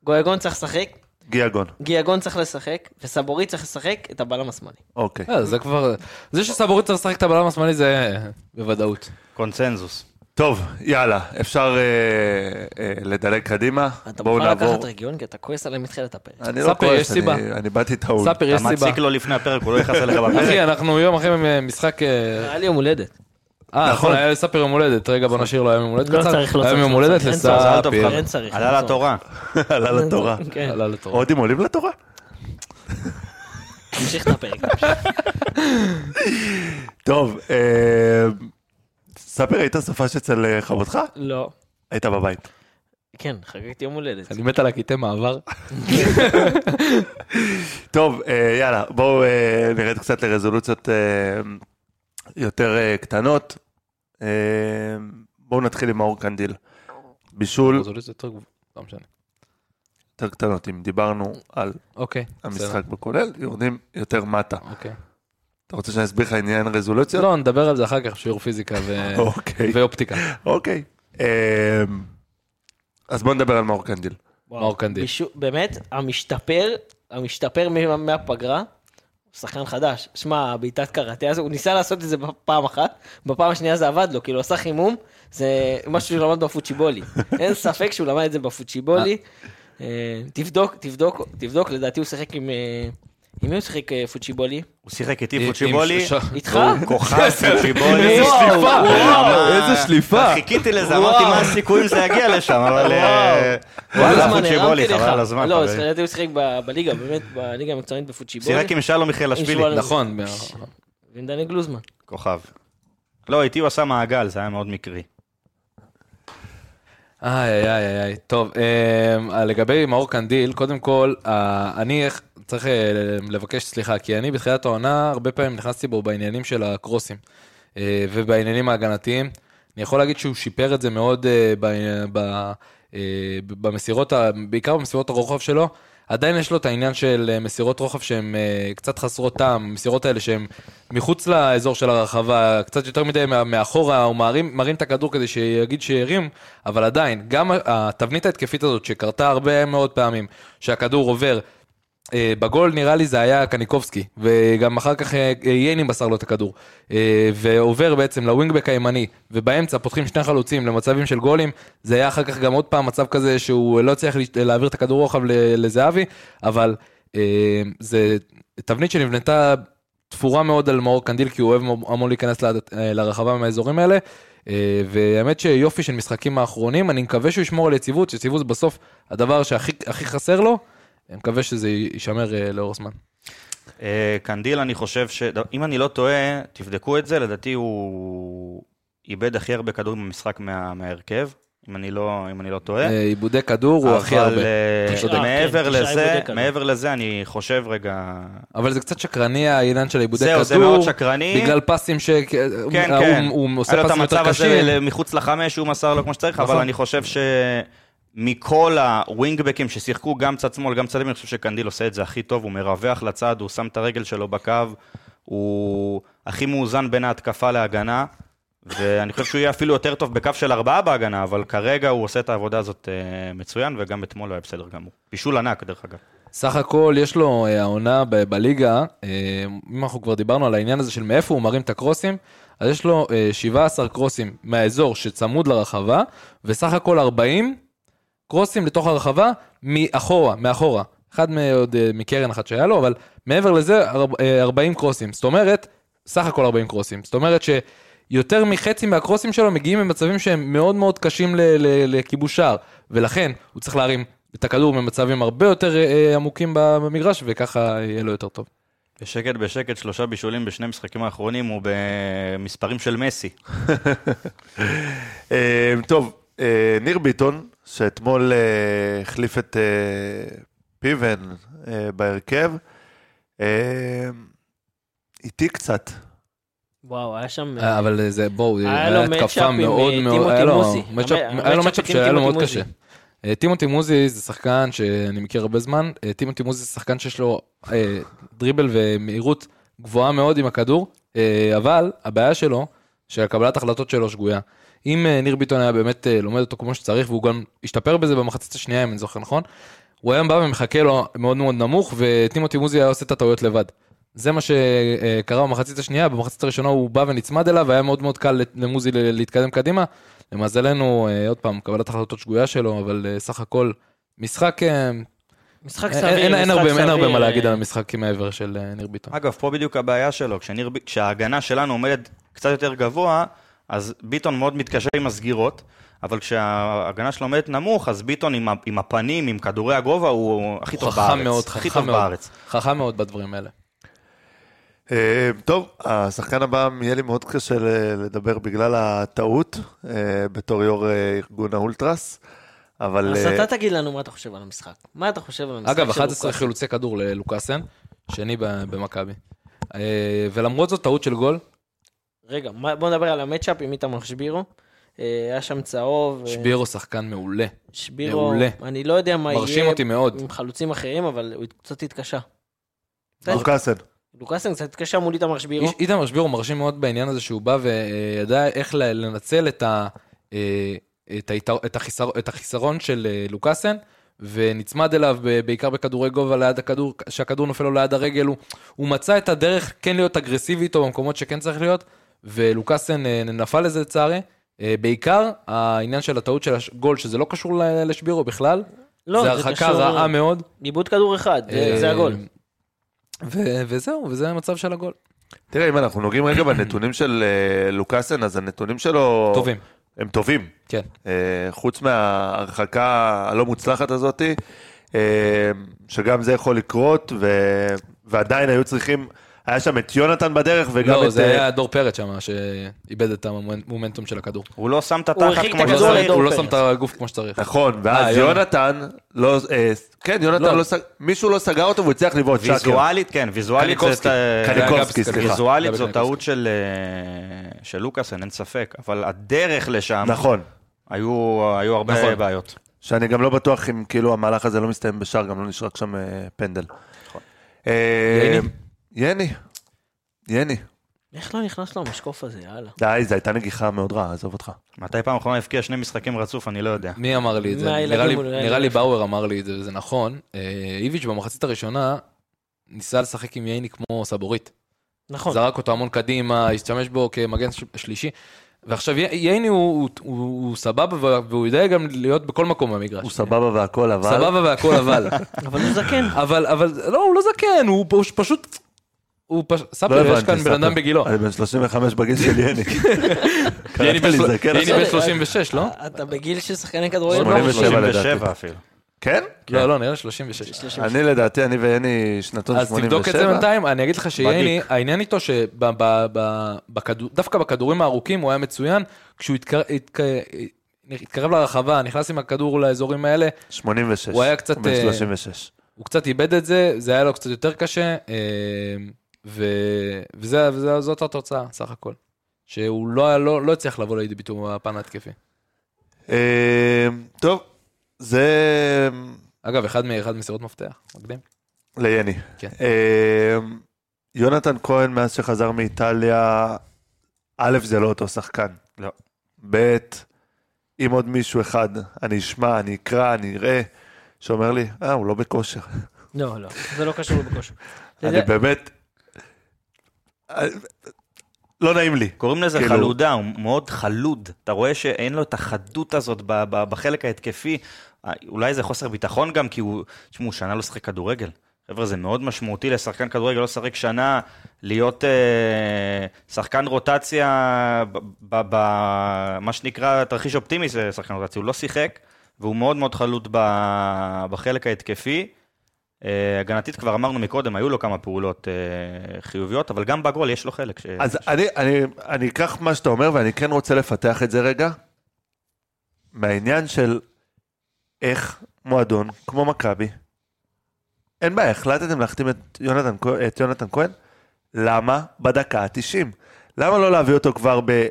S5: גויגון צריך לשחק,
S1: גיאגון,
S5: גיאגון צריך לשחק, וסבורית צריך לשחק את הבלם השמאלי.
S1: אוקיי.
S6: אה, זה כבר... זה שסבורית צריך לשחק את הבלם השמאלי זה אה, בוודאות.
S7: קונצנזוס.
S1: טוב, יאללה, אפשר אה, אה, לדלג קדימה.
S5: אתה
S1: בואו
S5: מוכן
S1: נעבור.
S5: לקחת רגיון? כי אתה כועס עליהם מתחילת הפרק.
S1: אני לא
S6: ספיר, יש
S1: כועס, אני-
S6: סיבה.
S1: אני באתי טעון.
S6: ספיר, יש
S7: אתה
S6: סיבה.
S7: מציק לו לפני הפרק, הוא לא יכעס עליך בפרק.
S6: אחי, אנחנו יום אחרי משחק... אה,
S5: היה לי יום הולדת.
S6: אה,
S1: נכון.
S6: נכון, היה לספיר יום הולדת. רגע, בוא נשאיר לו היום יום הולדת
S5: לא
S6: קצר.
S5: צריך, לא
S6: היום
S5: צריך,
S6: יום
S5: לא
S6: הולדת
S5: צריך. אין צורך,
S7: מזל טוב,
S6: לספיר.
S5: אין צריך.
S7: עלה לתורה.
S1: עלה לתורה.
S5: כן,
S6: עלה לתורה.
S1: הודים עולים לתורה?
S5: תמשיך את הפרק.
S1: טוב, אה, ספיר, היית סופש אצל אה, חמותך?
S5: לא.
S1: היית בבית.
S5: כן, חגגתי יום הולדת.
S6: אני מת על הקטעי מעבר.
S1: טוב, אה, יאללה, בואו אה, נרד קצת לרזולוציות אה, יותר אה, קטנות. אה, בואו נתחיל עם מאור קנדיל. בישול
S6: רזולוציה יותר גבוהה. לא משנה.
S1: יותר קטנות, אם דיברנו על
S6: אוקיי. בסדר.
S1: המשחק בכולל, יורדים יותר מטה.
S6: אוקיי.
S1: אתה רוצה שאני אסביר לך עניין רזולוציות?
S6: לא, נדבר על זה אחר כך, שיעור פיזיקה ו-
S1: אוקיי,
S6: ואופטיקה.
S1: אוקיי. אה, אז בואו נדבר על מאור קנדיל.
S5: וואו.
S6: מאור קנדיל.
S5: בישו- באמת, המשתפר, המשתפר מה- מהפגרה, הוא שחקן חדש. שמע, הבעיטת קראטה הזו, הוא ניסה לעשות את זה בפעם אחת, בפעם השנייה זה עבד לו, כאילו עשה חימום, זה משהו שהוא למד בפוצ'יבולי. אין ספק שהוא למד את זה בפוצ'יבולי. אה, תבדוק, תבדוק, תבדוק, לדעתי הוא שיחק עם... אה, עם מי הוא שיחק אה, פוצ'יבולי?
S7: הוא שיחק איתי
S6: עם-
S7: פוצ'יבולי.
S6: עם שלושה-
S5: איתך?
S7: כוכב פוצ'יבולי.
S5: איזה שליפה.
S7: ברמה-
S6: איזה שליפה.
S7: חיכיתי לזה, אמרתי מה הסיכויים זה יגיע לשם, אבל... אה,
S5: לא
S7: וואלה,
S5: מזמן,
S7: פוצ'יבולי,
S5: הרמתי לך.
S7: חבל על הזמן.
S5: לא,
S7: חברים.
S5: לדעתי הוא שיחק ב- בליגה, באמת, בליגה המקצוענית בפוצ'יבולי.
S7: שיחק עם שלום
S5: עם
S7: מיכאלשווילי.
S5: שואל-
S6: נכון. מה-
S5: ועם דני גלוזמן.
S7: כוכב. לא, איתי הוא עשה מעגל, זה היה מאוד מקרי.
S6: איי, איי, איי, איי. טוב, אה, לגבי מאור קנדיל, קודם כל, אה, אני איך- צריך אה, לבקש סליחה, כי אני בתחילת העונה, הרבה פעמים נכנסתי בו בעניינים של הקרוסים אה, ובעניינים ההגנתיים. אני יכול להגיד שהוא שיפר את זה מאוד אה, בעניין- ב- אה, ב- במסירות, ה- בעיקר במסירות הרוחב שלו. עדיין יש לו את העניין של אה, מסירות רוחב שהן אה, קצת חסרות טעם, המסירות האלה שהן מחוץ לאזור של הרחבה, קצת יותר מדי מה- מאחורה, הוא מרים, מרים את הכדור כדי שיגיד שהרים, אבל עדיין, גם ה- התבנית ההתקפית הזאת שקרתה הרבה מאוד פעמים, שהכדור עובר, אה, בגול נראה לי זה היה קניקובסקי, וגם אחר כך אה, אה, ייני מסר לו את הכדור, אה, ועובר בעצם לווינגבק הימני, ובאמצע פותחים שני חלוצים למצבים של גולים, זה היה אחר כך גם עוד פעם מצב כזה שהוא לא הצליח להש- להעביר את הכדור רוחב ל- לזהבי, אבל אה, זה תבנית שנבנתה תפורה מאוד על מאור קנדיל, כי הוא אוהב מאוד- המון להיכנס ל- אה, לרחבה מהאזורים האלה. אה, והאמת שיופי של משחקים האחרונים, אני מקווה שהוא ישמור על יציבות, שיציבות זה בסוף הדבר שהכי הכי חסר לו, אני מקווה שזה יישמר אה, לאור הזמן.
S7: אה, קנדיל, אני חושב ש... אם אני לא טועה, תבדקו את זה, לדעתי הוא איבד הכי הרבה כדורים במשחק מה- מההרכב, אם אני לא אם אני לא טועה.
S6: אה, עיבודי כדור הוא הכי
S7: אבל,
S6: הרבה.
S7: אה,
S5: אתה צודק.
S7: מעבר
S5: כן, תשעה
S7: לזה,
S5: איבודי כדור.
S7: מעבר לזה, אני חושב רגע...
S6: אבל זה קצת שקרני העניין של עיבודי כדור.
S7: זהו, זה מאוד שקרני.
S6: בגלל פסים ש... אה,
S7: כן,
S6: הוא-
S7: כן.
S6: הוא הוא
S7: היה
S6: עושה
S7: לו את
S6: פסים יותר
S7: המצב הזה
S6: קשים.
S7: ל- מחוץ לחמש, הוא מסר לו כמו שצריך, אבל
S6: נכון.
S7: אני חושב שמכל הווינגבקים ששיחקו, גם צד שמאל, גם צד ימין, אני חושב שקנדיל עושה את זה הכי טוב, הוא מרווח לצד, הוא שם את הרגל שלו בקו, הוא הכי מאוזן בין ההתקפה להגנה, ואני חושב שהוא יהיה אפילו יותר טוב בקו של ארבעה בהגנה, אבל כרגע הוא עושה את העבודה הזאת אה, מצוין, וגם אתמול הוא היה בסדר גמור. בישול ענק, דרך אגב.
S6: סך הכל יש לו אה, העונה ב- בליגה, אה, אם אנחנו כבר דיברנו על העניין הזה של מאיפה הוא מרים את הקרוסים, אז יש לו אה, 17 קרוסים מהאזור שצמוד לרחבה, וסך הכל 40 קרוסים לתוך הרחבה מאחורה, מאחורה. אחד מ- עוד אה, מקרן אחת שהיה לו, אבל מעבר לזה, ארבע- אה, 40 קרוסים. זאת אומרת, סך הכל 40 קרוסים. זאת אומרת שיותר מחצי מהקרוסים שלו מגיעים במצבים שהם מאוד מאוד קשים ל- ל- לכיבוש שער, ולכן הוא צריך להרים את הכדור במצבים הרבה יותר אה, עמוקים במגרש, וככה יהיה לו יותר טוב.
S7: בשקט בשקט, שלושה בישולים בשני המשחקים האחרונים, הוא במספרים של מסי.
S1: אה, טוב, אה, ניר ביטון, שאתמול אה, החליף את אה, פיבן אה, בהרכב, אה, איתי קצת.
S5: וואו, היה שם...
S6: אה, אבל אה, זה, בואו,
S5: היה
S6: היה
S5: לו
S6: התקפה
S5: מצ'אפ עם,
S6: מאוד
S5: אה,
S6: מאוד,
S5: טימותי
S6: היה לו
S5: מוזי.
S6: מצ'אפ-
S5: המ-
S6: היה לו
S5: המצ'אפ
S6: מצ'אפ
S5: עם
S6: שהיה לו
S5: טימותי
S6: מאוד
S5: מוזי.
S6: קשה. אה, טימותי מוזי זה שחקן שאני מכיר הרבה זמן, אה, טימותי מוזי זה שחקן שיש לו אה, דריבל ומהירות גבוהה מאוד עם הכדור, אה, אבל הבעיה שלו, שהקבלת החלטות שלו שגויה. אם אה, ניר ביטון היה באמת אה, לומד אותו כמו שצריך, והוא גם השתפר בזה במחצית השנייה, אם אני זוכר נכון, הוא היה בא ומחכה לו מאוד מאוד נמוך, וטימותי מוזי היה עושה את הטעויות לבד. זה מה שקרה במחצית השנייה, במחצית הראשונה הוא בא ונצמד אליו, והיה מאוד מאוד קל למוזי ל- להתקדם קדימה. למזלנו, אה, עוד פעם, קבלת החלטות שגויה שלו, אבל אה, סך הכל, משחק... אה,
S5: משחק
S6: אין-
S5: סביר, משחק
S6: אה, אין-
S5: סביר.
S6: אין הרבה- אין הרבה מה להגיד
S5: אה,
S6: על המשחק מעבר של אה, ניר ביטון.
S7: אגב, פה בדיוק הבעיה שלו, כשניר, ב- כשההגנה שלנו עומדת קצת יותר גבוה, אז ביטון מאוד מתקשה עם הסגירות, אבל כשההגנה שלו עומדת נמוך, אז ביטון עם, ה- עם הפנים, עם כדורי הגובה, הוא הכי
S6: הוא
S7: טוב בארץ.
S6: חכם מאוד,
S7: הכי
S6: חכם
S7: טוב
S6: מאוד,
S7: בארץ.
S6: חכם מאוד בדברים האלה.
S1: אה, טוב, השחקן הבא, יהיה לי מאוד קשה ל- לדבר בגלל הטעות, אה, בתור יו"ר אה, ארגון האולטרס, אבל...
S5: אז
S1: אה,
S5: אתה תגיד לנו מה אתה חושב על המשחק. מה אתה חושב על המשחק
S6: אגב,
S5: של
S6: 11
S5: לוקאסן?
S6: חילוצי כדור ללוקאסן, שני ב- במכבי. אה, ולמרות זאת, טעות של גול,
S5: רגע, מה- בוא נדבר על המצ'אפ עם איתמר שבירו. אה, היה שם צהוב. אה,
S6: שבירו שחקן מעולה.
S5: שבירו,
S6: מעולה.
S5: אני לא יודע מה יהיה.
S6: מרשים אותי מאוד.
S5: עם חלוצים אחרים, אבל הוא קצת התקשה.
S1: לוקאסן.
S5: לוקאסן קצת התקשה מול איתמר שבירו.
S6: איש- איתמר שבירו מרשים מאוד בעניין הזה שהוא בא וידע איך ל- לנצל את, ה, אה, את, היתר, את, החיסר, את החיסרון של אה, לוקאסן. ונצמד אליו ב- בעיקר בכדורי גובה ליד הכדור, שהכדור נופל לו ליד הרגל, הוא, הוא מצא את הדרך כן להיות אגרסיבי איתו במקומות שכן צריך להיות, ולוקאסן אה, נפל לזה לצערי. אה, בעיקר העניין של הטעות של הגול, שזה לא קשור ל- לשבירו בכלל,
S5: לא,
S6: זה
S5: זה
S6: הרחקה
S5: קשור-
S6: רעה מאוד.
S5: איבוד כדור אחד, זה-
S6: אה,
S5: זה הגול.
S6: ו- וזהו, וזה המצב של הגול.
S1: תראה, אם אנחנו נוגעים רגע בנתונים של אה, לוקאסן, אז הנתונים שלו...
S6: טובים,
S1: הם טובים.
S6: כן.
S1: אה, חוץ מההרחקה הלא מוצלחת הזאתי, אה, שגם זה יכול לקרות, ו... ועדיין היו צריכים, היה שם את יונתן בדרך וגם
S6: לא,
S1: את...
S6: זה
S1: אה,
S6: היה דור פרץ שם, שאיבד את המומנטום של הכדור.
S7: הוא לא שם את
S5: הוא
S7: התחת
S5: הרחיק את
S7: כמו
S5: הכדור
S7: שצריך.
S5: לדור
S6: הוא לא
S5: כן, פרץ.
S6: שם את הגוף כמו שצריך.
S1: נכון,
S6: אה,
S1: ואז
S6: יונתן.
S1: יונתן, לא, אה, כן, יונתן
S6: לא.
S1: לא, סג... מישהו לא סגר אותו והוא הצליח לבעוט שקר.
S7: ויזואלית, כן, ויזואלית
S6: קניקובסקי.
S7: זה- אה,
S1: קניקובסקי,
S6: זה היה
S1: סליחה.
S7: ויזואלית
S6: גבי
S7: זו
S6: קניקובסקי.
S7: טעות של, אה, של לוקאסן, אין ספק, אבל הדרך לשם,
S1: נכון,
S7: היו, היו הרבה
S6: נכון.
S7: בעיות.
S1: שאני גם לא בטוח אם כאילו המהלך הזה לא מסתיים בשער, גם לא נשרק שם אה, פנדל. אה,
S6: יני?
S1: יני, יני.
S5: איך לא נכנס לו המשקוף הזה, יאללה.
S1: די, זו הייתה נגיחה מאוד רעה, עזוב אותך.
S7: מתי פעם אחרונה הבקיע שני משחקים רצוף, אני לא יודע.
S6: מי אמר לי את זה?
S5: מהילדים
S6: נראה לי-
S5: אולי,
S6: נראה
S5: לא
S6: לי
S5: יודע.
S6: באואר אמר לי את זה, וזה נכון. אה, איביץ' במחצית הראשונה ניסה לשחק עם ייני כמו סבורית.
S5: נכון.
S6: זרק אותו המון קדימה, השתמש בו כמגן ש- שלישי. ועכשיו י- ייני הוא- הוא- הוא הוא סבבה, וה- והוא יודע גם להיות בכל מקום במגרש.
S1: הוא סבבה והכל, אבל... לא
S6: סבבה והכל אבל.
S5: אבל הוא זקן.
S6: אבל, אבל, לא, הוא לא זקן, הוא פ- פשוט... הוא פשוט... ספר, יש כאן בן
S1: ספר.
S6: אדם בגילו.
S1: לא אני בן 35 בגיל של יני.
S6: יני
S1: קראת
S6: בן
S1: לי
S6: של-
S1: זה, כן?
S6: יני בן
S5: בסדר.
S6: 36, לא?
S5: אתה בגיל של שחקני כדורגל.
S1: שמונים
S5: לא?
S1: ושבע.
S7: 37 אפילו.
S1: כן?
S6: לא, לא, נראה לי 36.
S1: אני לדעתי, אני ויני שנתון 87.
S6: אז תבדוק את זה בינתיים, אני אגיד לך שייני,
S1: בדיק.
S6: העניין איתו שדווקא בכדורים הארוכים הוא היה מצוין, כשהוא התקר- התק- התקרב לרחבה, נכנס עם הכדור לאזורים האלה,
S1: 86.
S6: הוא היה קצת,
S1: בן
S6: אה,
S1: 36.
S6: הוא קצת איבד את זה, זה היה לו קצת יותר קשה, אה, ו- וזה- וזה- זאת התוצאה, סך הכל. שהוא לא היה- לא לא הצליח לבוא לידי ביטוי בפן ההתקפי.
S1: אה, טוב, זה
S6: אגב, אחד מאחד מסירות מפתח, מקדים.
S1: ליני.
S6: כן.
S1: אה, יונתן כהן, מאז שחזר מאיטליה, א', זה לא אותו שחקן.
S7: לא.
S1: ב', אם עוד מישהו אחד, אני אשמע, אני אקרא, אני אראה, שאומר לי, אה, הוא לא בכושר.
S5: לא, לא, זה לא קשור בכושר. אתה
S1: אני
S5: יודע-
S1: באמת... אה, לא נעים לי.
S7: קוראים לזה
S1: כאילו-
S7: חלודה, הוא מאוד חלוד. אתה רואה שאין לו את החדות הזאת ב- ב- בחלק ההתקפי. אה, אולי זה חוסר ביטחון גם, כי הוא, תשמעו, שנה לא שחק כדורגל. חבר'ה, זה מאוד משמעותי לשחקן כדורגל לא לשחק שנה, להיות אה, שחקן רוטציה, ב- ב- ב- מה שנקרא תרחיש אופטימי של שחקן רוטציה. הוא לא שיחק, והוא מאוד מאוד חלוד ב- בחלק ההתקפי. אה, הגנתית כבר אמרנו מקודם, היו לו כמה פעולות אה, חיוביות, אבל גם בגול יש לו חלק. ש-
S1: אז אני, אני, אני אקח מה שאתה אומר, ואני כן רוצה לפתח את זה רגע, מהעניין של איך מועדון, כמו מכבי, אין בעיה, החלטתם להחתים את יונתן, כהן- את יונתן כהן, למה בדקה ה-90? למה לא להביא אותו כבר ב... אה,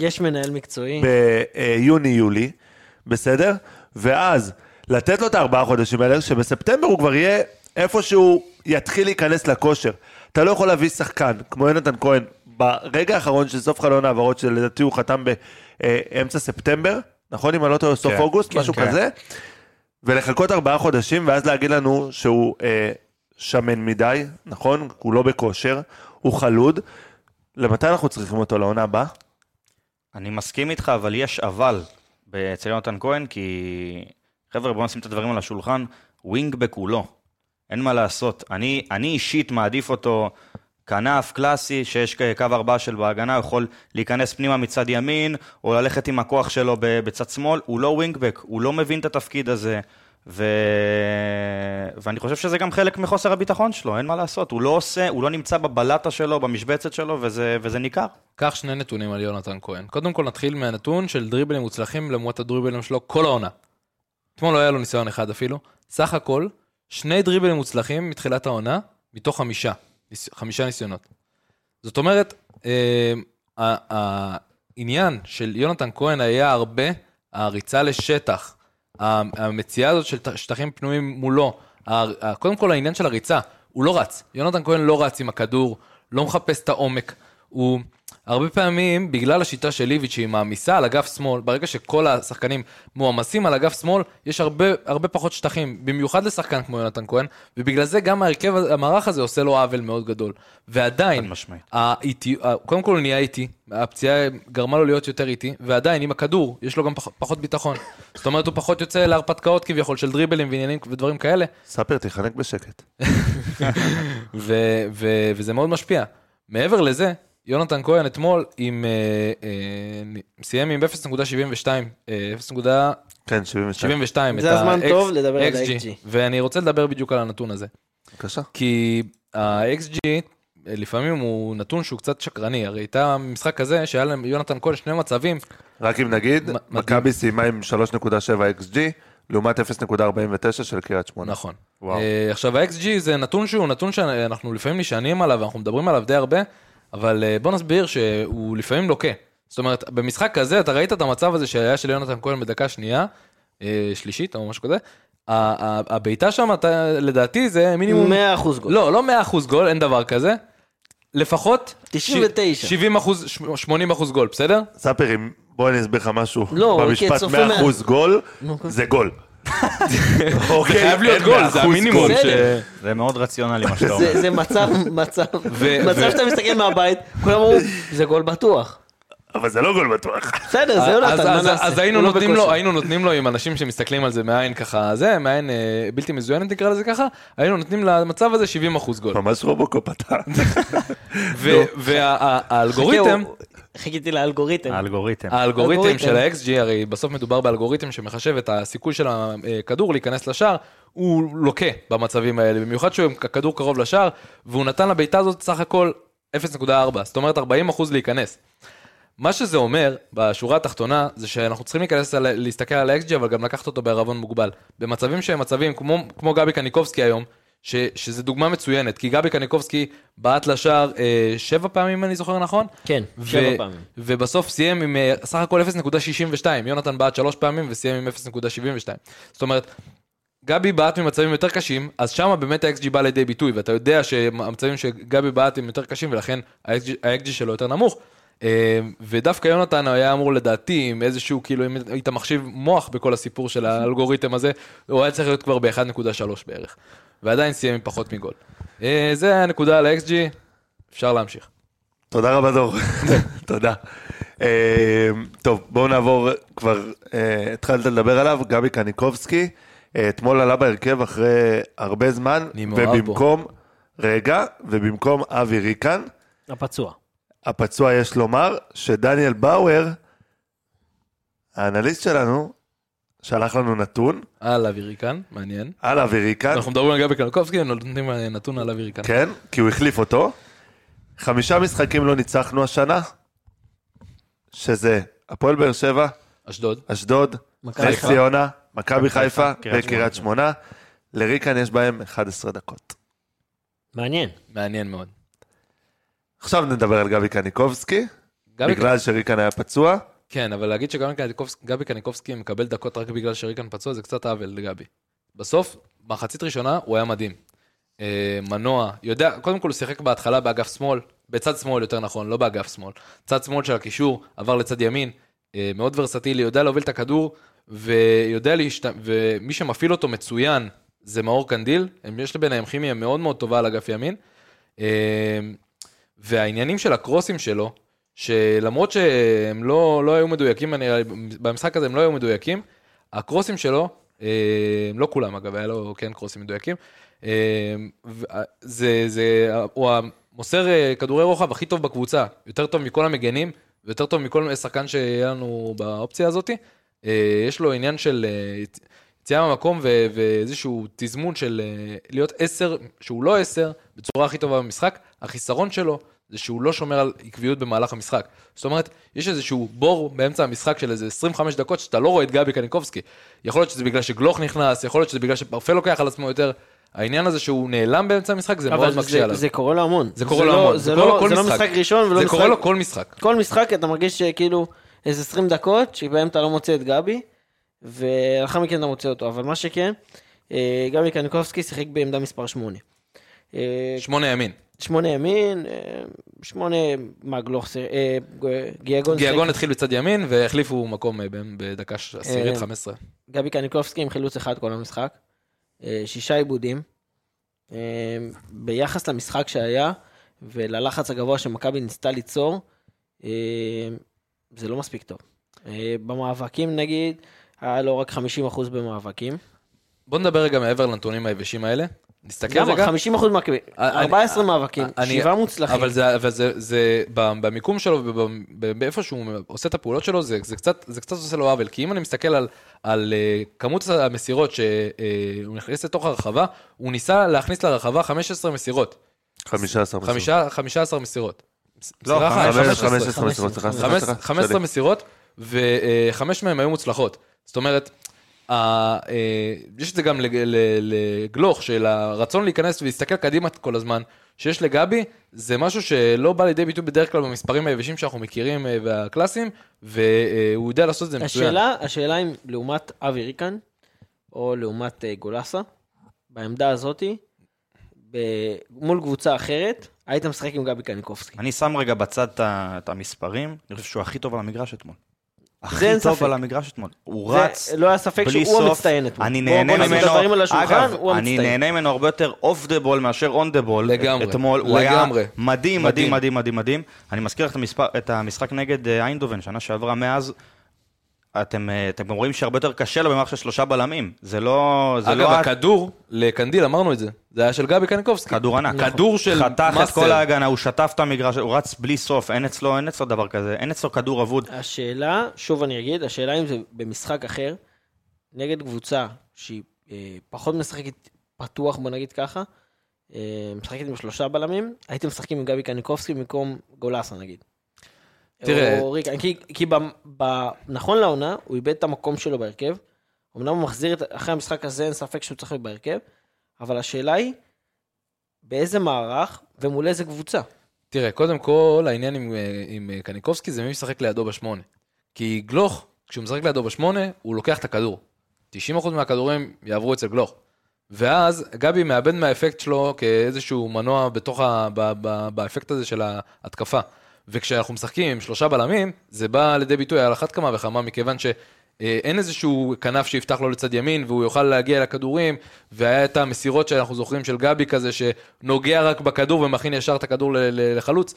S5: יש מנהל מקצועי.
S1: ביוני-יולי, בסדר? ואז לתת לו את הארבעה חודשים האלה, שבספטמבר הוא כבר יהיה איפה שהוא יתחיל להיכנס לכושר. אתה לא יכול להביא שחקן כמו יונתן כהן ברגע האחרון של סוף חלון העברות, שלדעתי הוא חתם באמצע ספטמבר, נכון? אם אני לא טועה, סוף
S7: כן,
S1: אוגוסט, משהו
S7: כן.
S1: כזה. ולחכות ארבעה חודשים, ואז להגיד לנו שהוא אה, שמן מדי, נכון? הוא לא בכושר, הוא חלוד. למתי אנחנו צריכים אותו לעונה הבאה?
S7: אני מסכים איתך, אבל יש אבל אצל יונתן כהן, כי... חבר'ה, בואו נשים את הדברים על השולחן, ווינגבק הוא לא. אין מה לעשות. אני, אני אישית מעדיף אותו כנף קלאסי, שיש כ- קו ארבעה של בהגנה, הוא יכול להיכנס פנימה מצד ימין, או ללכת עם הכוח שלו ב- בצד שמאל, הוא לא ווינגבק, הוא לא מבין את התפקיד הזה. ו... ואני חושב שזה גם חלק מחוסר הביטחון שלו, אין מה לעשות. הוא לא עושה, הוא לא נמצא בבלטה שלו, במשבצת שלו, וזה, וזה ניכר.
S6: קח שני נתונים על יונתן כהן. קודם כל נתחיל מהנתון של דריבלים מוצלחים למרות הדריבלים שלו כל העונה. אתמול לא היה לו ניסיון אחד אפילו. סך הכל, שני דריבלים מוצלחים מתחילת העונה, מתוך חמישה. ניס- חמישה ניסיונות. זאת אומרת, אה, ה- ה- העניין של יונתן כהן היה הרבה הריצה לשטח, ה- המציאה הזאת של ת- שטחים פנויים מולו, ה- ה- קודם כל העניין של הריצה, הוא לא רץ. יונתן כהן לא רץ עם הכדור, לא מחפש את העומק. הוא הרבה פעמים, בגלל השיטה של איביץ' שהיא מעמיסה על אגף שמאל, ברגע שכל השחקנים מועמסים על אגף שמאל, יש הרבה, הרבה פחות שטחים, במיוחד לשחקן כמו יונתן כהן, ובגלל זה גם ההרכב, המערך הזה עושה לו עוול מאוד גדול. ועדיין,
S7: חד משמעית.
S6: האיטי, ה- קודם כל הוא נהיה איטי, הפציעה גרמה לו להיות יותר איטי, ועדיין עם הכדור יש לו גם פח, פחות ביטחון. זאת אומרת הוא פחות יוצא להרפתקאות כביכול של דריבלים ועניינים ודברים כאלה,
S1: ספיר, תיחנק בשקט.
S6: ו, ו, וזה מאוד משפיע. מעבר לזה, יונתן כהן אתמול עם, אה, אה, סיים עם 0.72, אה, 0.72
S1: כן, 72.
S6: את
S5: זה הזמן
S6: ה-
S5: טוב לדבר על
S6: XG.
S5: ה-XG.
S6: ואני רוצה לדבר בדיוק על הנתון הזה.
S1: בבקשה.
S6: כי ה-XG אה, לפעמים הוא נתון שהוא קצת שקרני, הרי הייתה משחק כזה שהיה להם יונתן כהן שני מצבים,
S1: רק אם נגיד,
S6: מדהים.
S1: מכבי סיימה עם 3.7 XG, לעומת 0.49 של קריית שמונה.
S6: נכון.
S1: וואו.
S6: אה, עכשיו ה-XG זה נתון שהוא נתון שאנחנו לפעמים נשענים עליו, אנחנו מדברים עליו די הרבה, אבל אה, בוא נסביר שהוא לפעמים לוקה. זאת אומרת, במשחק כזה אתה ראית את המצב הזה שהיה של יונתן כהן בדקה שנייה, אה, שלישית או משהו כזה, ה- ה- הבעיטה שם אתה- לדעתי זה מינימום
S5: 100% גול.
S6: לא, לא 100% גול, אין דבר כזה. לפחות...
S5: 99.
S6: 70 אחוז, 80 אחוז גול, בסדר?
S1: ספיר, אם- בוא אני אסביר לך משהו.
S5: לא,
S6: אוקיי,
S5: כי
S1: במשפט
S5: צופה
S1: 100% גול, זה גול. אוקיי,
S6: חייב להיות
S1: אין
S6: גול,
S1: 100%
S6: זה המינימום
S1: גול.
S6: ש-
S5: בסדר.
S7: זה מאוד רציונלי מה שאתה אומר.
S5: זה זה מצב, מצב,
S6: ו-
S5: מצב
S6: ו-
S5: שאתה מסתכל מהבית, כולם אמרו, זה גול בטוח.
S1: אבל זה לא גול בטוח.
S5: בסדר, זה
S6: אז-
S5: יונתן, מה
S6: אז-
S5: נעשה?
S6: אז היינו
S5: הוא לא
S6: נותנים לו,
S5: בכושר.
S6: היינו נותנים לו עם אנשים שמסתכלים על זה מעין ככה, זה, מעין אה, בלתי מזוינת נקרא לזה ככה, היינו נותנים למצב הזה 70 אחוז גול.
S1: ממש רובוקופ אתה.
S6: והאלגוריתם,
S5: חכה, לא. הוא- חיכיתי לאלגוריתם.
S7: האלגוריתם.
S6: האלגוריתם של
S5: כן. אלגוריתם.
S6: ה-XG, הרי בסוף מדובר באלגוריתם שמחשב את הסיכוי של הכדור להיכנס לשער, הוא לוקה במצבים האלה, במיוחד שהוא עם הכדור קרוב לשער, והוא נתן לבעיטה הזאת סך הכל 0.4, זאת אומרת 40% להיכנס. מה שזה אומר, בשורה התחתונה, זה שאנחנו צריכים להיכנס, על- להסתכל על ה-XG, אבל גם לקחת אותו בערבון מוגבל. במצבים שהם מצבים, כמו, כמו גבי קניקובסקי היום, ש, שזה דוגמה מצוינת, כי גבי קניקובסקי בעט לשער אה, שבע פעמים, אם אני זוכר נכון?
S5: כן,
S6: ו-
S5: שבע פעמים.
S6: ובסוף סיים עם אה, סך הכל 0.62, יונתן בעט שלוש פעמים וסיים עם 0.72. זאת אומרת, גבי בעט ממצבים יותר קשים, אז שם באמת ה-XG בא לידי ביטוי, ואתה יודע שהמצבים שגבי בעט הם יותר קשים, ולכן ה-XG ה-XG שלו יותר נמוך. אה, ודווקא יונתן היה אמור לדעתי עם איזשהו, כאילו, אם היית מחשיב מוח בכל הסיפור של האלגוריתם הזה, הוא היה צריך להיות כבר ב-1.3 בערך. ועדיין סיים עם פחות מגול. אה, זה הנקודה על ה-XG, אפשר להמשיך.
S1: תודה רבה, דור. תודה. אה, טוב, בואו נעבור, כבר אה, התחלת לדבר עליו, גבי קניקובסקי. אה, אתמול עלה בהרכב אחרי הרבה זמן,
S6: אני מאוהב בו.
S1: ובמקום, רגע, ובמקום אבי ריקן,
S5: הפצוע.
S1: הפצוע יש לומר שדניאל באואר, האנליסט שלנו, שלח לנו נתון
S6: על אוויריקן, מעניין.
S1: על אבי ריקן,
S6: אנחנו מדברים על גבי קנקובסקי, נותנים אה, נתון על אוויריקן.
S1: כן, כי הוא החליף אותו. חמישה משחקים לא ניצחנו השנה, שזה הפועל באר שבע,
S6: אשדוד.
S1: אשדוד,
S5: מכבי
S1: נס
S5: חיפה.
S1: ציונה, מכבי חיפה
S8: חיפה, קריית
S1: וקריית שמונה. לריקן יש בהם 11 דקות.
S5: מעניין.
S6: מעניין מאוד.
S1: עכשיו נדבר על גבי קניקובסקי,
S6: גבי
S1: בגלל שריקן היה פצוע.
S6: כן, אבל להגיד שגבי קניקובסקי, גבי קניקובסקי מקבל דקות רק בגלל שריקן פצוע, זה קצת עוול לגבי. בסוף, מחצית ראשונה, הוא היה מדהים. אה, מנוע, יודע, קודם כל הוא שיחק בהתחלה באגף שמאל, בצד שמאל יותר נכון, לא באגף שמאל. צד שמאל של הקישור, עבר לצד ימין, אה, מאוד ורסטילי, יודע להוביל את הכדור, ויודע להשת... ומי שמפעיל אותו מצוין זה מאור קנדיל, הם- יש ביניהם כימיה מאוד מאוד טובה על אגף ימין. אה, והעניינים של הקרוסים שלו, שלמרות שהם לא, לא היו מדויקים, אני, במשחק הזה הם לא היו מדויקים, הקרוסים שלו, אה, לא כולם אגב, היה לו כן קרוסים מדויקים, אה, וה- זה, זה, הוא המוסר אה, כדורי רוחב הכי טוב בקבוצה, יותר טוב מכל המגנים, ויותר טוב מכל שחקן שיהיה לנו באופציה הזאת. אה, יש לו עניין של אה, יצ- יציאה מהמקום ו- ואיזשהו תזמון של אה, להיות עשר, שהוא לא עשר, בצורה הכי טובה במשחק. החיסרון שלו זה שהוא לא שומר על עקביות במהלך המשחק. זאת אומרת, יש איזשהו בור באמצע המשחק של איזה 25 דקות שאתה לא רואה את גבי קניקובסקי. יכול להיות שזה בגלל שגלוך נכנס, יכול להיות שזה בגלל שפרפה לוקח על עצמו יותר. העניין הזה שהוא נעלם באמצע המשחק, זה מאוד
S5: אבל
S6: מקשה
S5: זה-
S6: עליו.
S5: זה קורה לו המון.
S6: זה קורה
S5: לא-
S6: לו המון,
S5: זה
S6: זה קורה לו
S5: לא
S6: כל
S5: זה לא
S6: משחק.
S5: משחק ראשון ולא
S6: זה
S5: משחק...
S6: קורה לו כל משחק.
S5: כל משחק אתה מרגיש שכאילו איזה 20 דקות שבהם אתה לא מוצא את גבי, ולאחר מכן אתה מוצא אותו. אבל מה שכן, אה, גבי קניקובסקי שיחק בעמדה מספר אה, 8.
S6: שמונה ימין.
S5: שמונה ימין, אה, שמונה, מה גלוך, שיר- אה, גיאגון, שיחק-
S6: גיאגון התחיל בצד ימין והחליפו מקום אה, ב- בדקה ש- עשירית
S5: אה,
S6: 15.
S5: גבי קניקובסקי עם חילוץ אחד כל המשחק, אה, שישה עיבודים. אה, ביחס למשחק שהיה וללחץ הגבוה שמכבי ניסתה ליצור, אה, זה לא מספיק טוב. אה, במאבקים נגיד, היה לו רק 50% במאבקים.
S6: בוא נדבר רגע מעבר לנתונים היבשים האלה. נסתכל
S5: למה?
S6: רגע.
S5: 50% מהקווים,
S6: אה, אני- אה,
S5: 14 מאבקים,
S6: אני-
S5: שבעה מוצלחים.
S6: אבל זה, אבל זה, זה ב- במיקום שלו, ב- ב- ב- באיפה שהוא עושה את הפעולות שלו, זה, זה, קצת, זה קצת עושה לו עוול. כי אם אני מסתכל על, על אה, כמות המסירות שהוא נכנס לתוך הרחבה, הוא ניסה להכניס לרחבה 15 מסירות.
S1: 15 מסירות.
S6: חמישה- 15 מסירות.
S7: לא,
S6: מסירה אחת,
S7: חמש,
S1: 15
S6: 15.
S1: מסירות, מסירות, סליחה, סליחה,
S6: חמש-
S1: סליחה,
S6: 15
S1: שלי.
S6: מסירות, וחמש מהן היו מוצלחות. זאת אומרת, ה- אה, יש את זה גם לג- ל- לגלוך, של הרצון להיכנס ולהסתכל קדימה כל הזמן, שיש לגבי, זה משהו שלא בא לידי ביטוי בדרך כלל במספרים היבשים שאנחנו מכירים אה, והקלאסיים, והוא יודע לעשות את זה מצוין.
S5: השאלה, השאלה אם לעומת אבי ריקן, או לעומת אה, גולסה, בעמדה הזאתי, ב... מול קבוצה אחרת, היית משחק עם גבי קניקובסקי.
S7: אני שם רגע בצד את ה- את המספרים, אני חושב שהוא הכי טוב על המגרש אתמול. הכי
S5: אין
S7: טוב
S5: ספק.
S7: על המגרש אתמול. הוא
S5: זה-
S7: רץ,
S5: לא היה ספק
S7: בלי
S5: שהוא
S7: סוף.
S5: המצטיין אתמול.
S7: אני
S5: בוא-
S7: נהנה
S5: בוא נשים דברים על
S7: ממנו,
S5: השולחן,
S7: אגב,
S5: הוא
S7: אני
S5: המצטיין.
S7: נהנה ממנו הרבה יותר אוף דה בול מאשר און דה בול.
S6: לגמרי,
S7: אתמול הוא היה
S6: לגמרי. מדהים.
S7: מדהים, מדהים, מדהים, מדהים, מדהים. אני מזכיר לך את המספר- את המשחק נגד אה, איינדובן, שנה שעברה, מאז... אתם, אה, אתם גם רואים שהרבה יותר קשה לו במערכת של שלושה בלמים. זה לא... זה
S6: אגב,
S7: לא
S6: הכדור לקנדיל, אמרנו את זה, זה היה של גבי קניקובסקי.
S7: כדור ענק.
S6: כדור של
S7: חתך את כל
S6: מאסטר.
S7: ההגנה, הוא שטף את המגרש, הוא רץ בלי סוף, אין אצלו, אין אצלו דבר כזה, אין אצלו כדור אבוד.
S5: השאלה, שוב אני אגיד, השאלה אם זה במשחק אחר, נגד קבוצה שהיא אה, פחות משחקת פתוח, בוא נגיד ככה, אה, משחקת עם שלושה בלמים, הייתם משחקים עם גבי קניקובסקי במקום גולסה נגיד.
S6: תראה-
S5: או ריקן, כי, כי ב, ב, נכון לעונה, הוא איבד את המקום שלו בהרכב. אמנם הוא מחזיר את, אחרי המשחק הזה, אין ספק שהוא צריך להיות בהרכב, אבל השאלה היא, באיזה מערך ומול איזה קבוצה?
S6: תראה, קודם כל, העניין עם, אה, עם אה, קניקובסקי זה מי משחק לידו בשמונה. כי גלוך, כשהוא משחק לידו בשמונה, הוא לוקח את הכדור. 90% מהכדורים יעברו אצל גלוך. ואז גבי מאבד מהאפקט שלו כאיזשהו מנוע בתוך ה... ב, ב, באפקט הזה של ההתקפה. וכשאנחנו משחקים עם שלושה בלמים, זה בא לידי ביטוי על אחת כמה וכמה, מכיוון שאין איזשהו כנף שיפתח לו לצד ימין, והוא יוכל להגיע לכדורים, והיה את המסירות שאנחנו זוכרים של גבי כזה, שנוגע רק בכדור ומכין ישר את הכדור ל- ל- לחלוץ.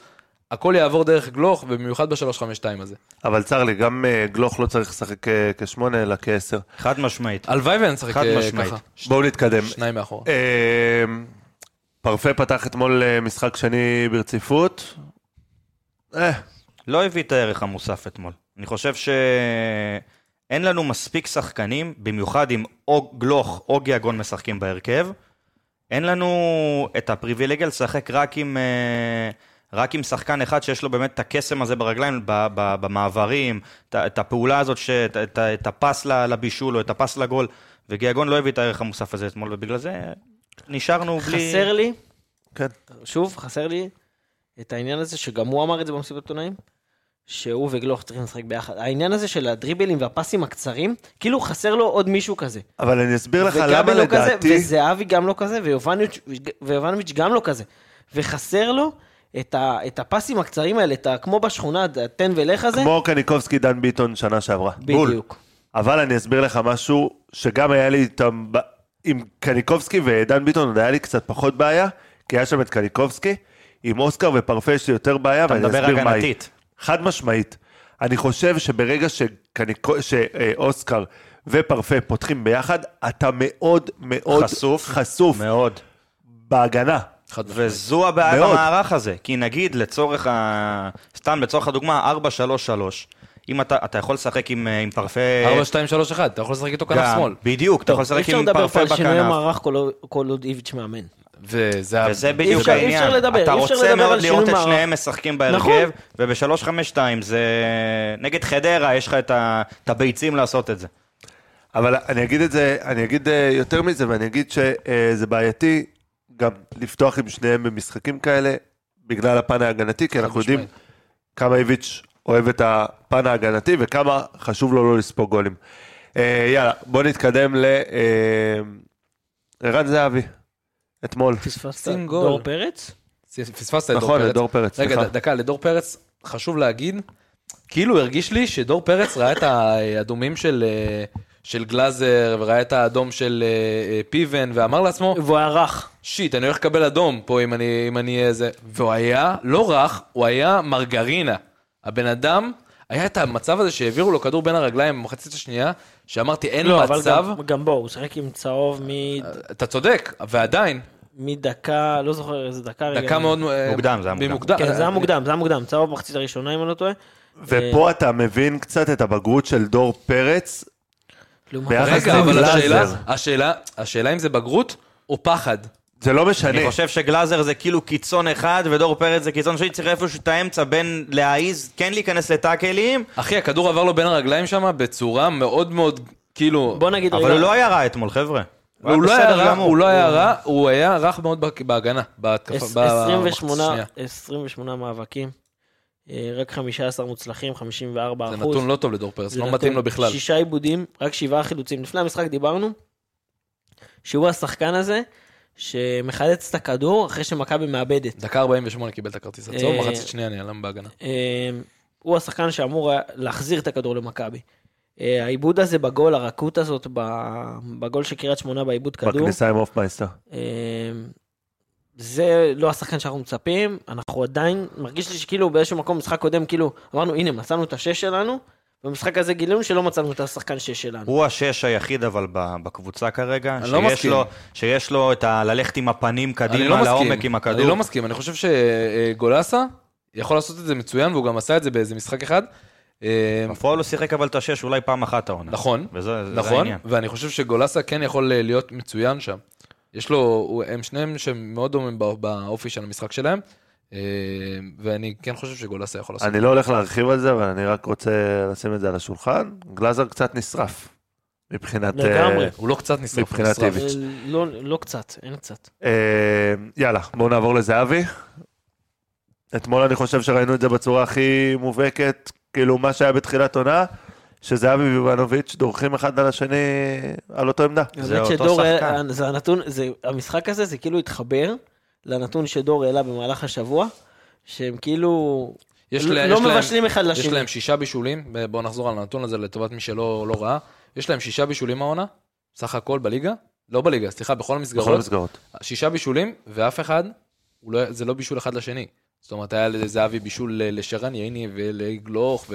S6: הכל יעבור דרך גלוך, ובמיוחד ב-352 הזה.
S1: אבל צר לי, גם אה, גלוך לא צריך לשחק אה, כשמונה, אלא כעשר.
S7: חד משמעית.
S6: הלוואי ונשחק
S7: חד
S6: אה,
S7: משמעית.
S6: ככה.
S1: בואו נתקדם.
S6: שניים מאחורה.
S1: אה, פרפה פתח אתמול אה, משחק שני ברציפות. אה,
S7: לא הביא את הערך המוסף אתמול. אני חושב שאין לנו מספיק שחקנים, במיוחד אם או גלוך או גיאגון משחקים בהרכב. אין לנו את הפריבילגיה לשחק רק עם, אה, רק עם שחקן אחד שיש לו באמת את הקסם הזה ברגליים, ב, ב, במעברים, את, ה- את הפעולה הזאת, ש, את, את, ה- את הפס ל- לבישול או את הפס לגול, וגיאגון לא הביא את הערך המוסף הזה אתמול, ובגלל זה נשארנו בלי...
S5: חסר לי,
S1: כן.
S5: שוב, חסר לי את העניין הזה, שגם הוא אמר את זה במסיבת עיתונאים, שהוא וגלוך צריכים לשחק ביחד. העניין הזה של הדריבלים והפסים הקצרים, כאילו חסר לו עוד מישהו כזה.
S1: אבל אני אסביר לך
S5: וגבי
S1: למה
S5: לא כזה,
S1: לדעתי...
S5: וזהבי גם לא כזה, ויובנוביץ'- ויובנוביץ' גם לא כזה. וחסר לו את, ה, את הפסים הקצרים האלה, את ה, כמו בשכונה, התן ולך הזה.
S1: כמו קניקובסקי דן ביטון שנה שעברה. בול.
S5: בדיוק.
S1: אבל אני אסביר לך משהו שגם היה לי איתם, ב- עם קניקובסקי ודן ביטון עוד היה לי קצת פחות בעיה, כי היה שם את קניקובסקי, עם אוסקר ופרפה יש לי יותר בעיה,
S7: אתה
S1: ואני
S7: מדבר
S1: אסביר מהי.
S7: הגנתית.
S1: חד משמעית. אני חושב שברגע שקניקו- שאוסקר ופרפה פותחים ביחד, אתה מאוד מאוד
S7: חשוף.
S1: חשוף
S7: מאוד.
S1: בהגנה.
S6: חד משמעית.
S7: וזו הבעיה
S1: מאוד.
S7: במערך הזה, כי נגיד לצורך ה... סתם לצורך הדוגמה, 4-3-3, אם אתה, אתה יכול לשחק עם, אה, עם פרפה...
S6: 4, 2, 3, 1, אתה יכול לשחק איתו כנף
S7: גם,
S6: שמאל.
S7: בדיוק, אתה יכול
S5: אי
S7: לשחק
S5: אפשר
S7: עם
S5: לדבר פה
S7: פרפה
S5: על שינוי
S7: בכנף.
S5: מערך כל עוד- כל עוד איביץ' מאמן.
S6: וזה ה-
S7: וזה
S5: אי
S7: בדיוק
S5: אפשר- אי אפשר
S7: העניין.
S5: לדבר,
S7: אתה
S5: אי אפשר
S7: רוצה
S5: לדבר על
S7: מאוד לראות את
S5: שינוי
S7: שניהם משחקים
S5: נכון.
S7: בהרכב, וב-3-5-2 זה... נגד חדרה יש לך את ה- את הביצים לעשות את זה.
S1: אבל אני אגיד את זה, אני אגיד אה, יותר מזה, ואני אגיד שזה בעייתי גם לפתוח עם שניהם במשחקים כאלה, בגלל הפן ההגנתי, כי אנחנו יודעים כמה איביץ' אוהב את הפן ההגנתי, וכמה חשוב לו לא לספוג גולים. אה, יאללה, בוא נתקדם ל... אה, ערן זהבי, אתמול.
S5: פספסת
S6: שים גול.
S5: דור פרץ?
S6: פספסת את דור
S1: נכון,
S6: פרץ.
S1: לדור פרץ,
S6: רגע,
S1: סליחה.
S6: ד- דקה, לדור פרץ חשוב להגיד, כאילו הרגיש לי שדור פרץ ראה את האדומים של... אה, של גלאזר, וראה את האדום של אה, אה, פיבן, ואמר לעצמו,
S5: והוא היה רך.
S6: שיט, אני הולך לקבל אדום פה אם אני, אם אני איזה... והוא היה לא רך, הוא היה מרגרינה. הבן אדם, היה את המצב הזה שהעבירו לו כדור בין הרגליים במחצית השנייה, שאמרתי, אין
S5: לא,
S6: לו
S5: אבל
S6: מצב. אה,
S5: גם- גם בו, הוא שיחק עם צהוב מ-
S6: אתה צודק, ועדיין,
S5: מדקה, לא זוכר איזה דקה. רגע.
S6: דקה מאוד... אה,
S7: מוקדם, זה היה מוקדם.
S6: במוקדם. אה,
S5: כן, זה היה מוקדם, זה היה מוקדם. צהוב במחצית הראשונה, אם אני לא טועה.
S1: ופה אתה מבין קצת את הבגרות של דור פרץ.
S5: לעומת-
S1: ביחס
S6: רגע,
S1: זה
S6: אבל
S1: גלאזר.
S6: השאלה, השאלה, השאלה אם זה בגרות או פחד.
S1: זה לא משנה.
S7: אני חושב שגלאזר זה כאילו קיצון אחד, ודור פרץ זה קיצון שני, צריך איפשהו את האמצע בין להעיז, כן להיכנס לטאקלים,
S6: אחי, הכדור עבר לו בין הרגליים שם בצורה מאוד מאוד, כאילו...
S5: בוא נגיד
S7: אבל
S5: רגע-
S7: הוא לא היה רע אתמול, חבר'ה. היה
S6: הוא לא היה
S7: בסדר
S6: רע,
S7: גמור.
S6: הוא לא היה רע, הוא היה רך מאוד בה- בהגנה, בהתקפה, במחצית
S5: 28,
S6: השנייה.
S5: 28 מאבקים, אה, רק 15 מוצלחים, 54
S6: זה
S5: אחוז.
S6: נתון לא טוב לדור פרץ,
S5: זה
S6: לא
S5: נתון-
S6: מתאים לו בכלל.
S5: שישה עיבודים, רק שבעה חילוצים. לפני המשחק דיברנו שהוא השחקן הזה שמחלץ את הכדור אחרי שמכבי מאבדת.
S6: דקה 48 קיבל את הכרטיס הצהוב,
S5: אה,
S6: מחצית שנייה נעלם בהגנה.
S5: אה, הוא השחקן שאמור היה להחזיר את הכדור למכבי. אה, העיבוד הזה בגול, הרכות הזאת, ב- בגול של קריית שמונה בעיבוד כדור.
S1: בכניסה עם הופמייסטר.
S5: אמ, זה לא השחקן שאנחנו מצפים, אנחנו עדיין, מרגיש לי שכאילו באיזשהו מקום, משחק קודם, כאילו, אמרנו, הנה, מצאנו את השש שלנו, במשחק הזה גילינו שלא מצאנו את השחקן שש שלנו.
S7: הוא השש היחיד אבל ב- בקבוצה כרגע,
S6: אני לא
S7: שיש
S6: מסכים.
S7: לו, שיש לו את ה... ללכת עם הפנים
S6: אני לא
S7: קדימה, לעומק
S6: מסכים,
S7: עם
S6: אני לא
S7: הכדור.
S6: מסכים, אני חושב שגולסה יכול לעשות את זה מצוין, והוא גם עשה את זה באיזה משחק אחד. אה,
S7: בפועל הוא שיחק אבל את השש אולי פעם אחת העונה.
S6: נכון,
S7: וזה זה
S6: נכון,
S7: העניין.
S6: ואני חושב שגולסה כן יכול אה, להיות מצוין שם. יש לו, הוא- הם שניהם שמאוד דומים בא- באופי של המשחק שלהם, אה, ואני כן חושב שגולסה יכול לעשות.
S1: אני לא הולך להרחיב על זה, אבל אני רק רוצה לשים את זה על השולחן. גלאזר קצת נשרף. מבחינת... אה,
S5: לגמרי.
S6: הוא לא קצת נשרף, הוא
S1: מבחינת
S6: נשרף.
S1: איביץ'.
S5: אה, לא, לא קצת, אין קצת.
S1: אה, יאללה, בואו נעבור לזהבי. אתמול אני חושב שראינו את זה בצורה הכי מובהקת, כאילו מה שהיה בתחילת עונה, שזהבי ויובנוביץ' דורכים אחד על השני על אותו עמדה.
S7: זה
S5: האמת
S7: אותו
S5: שדור
S7: שחקן.
S5: העלה- זה הנתון, זה, המשחק הזה, זה כאילו התחבר לנתון שדור העלה במהלך השבוע, שהם כאילו
S6: יש
S5: לא
S6: לה-
S5: לא
S6: יש להם-
S5: מבשלים אחד
S6: יש
S5: לשני.
S6: להם שישה בישולים, בואו נחזור על הנתון הזה לטובת מי שלא לא ראה. יש להם שישה בישולים העונה, סך הכל בליגה, לא בליגה, סליחה, בכל
S1: בכל
S6: המסגרות.
S1: המסגרות.
S6: שישה בישולים, ואף אחד, הוא לא, זה לא בישול אחד לשני. זאת אומרת, היה לזהבי בישול ל- לשרן ייני ולגלוך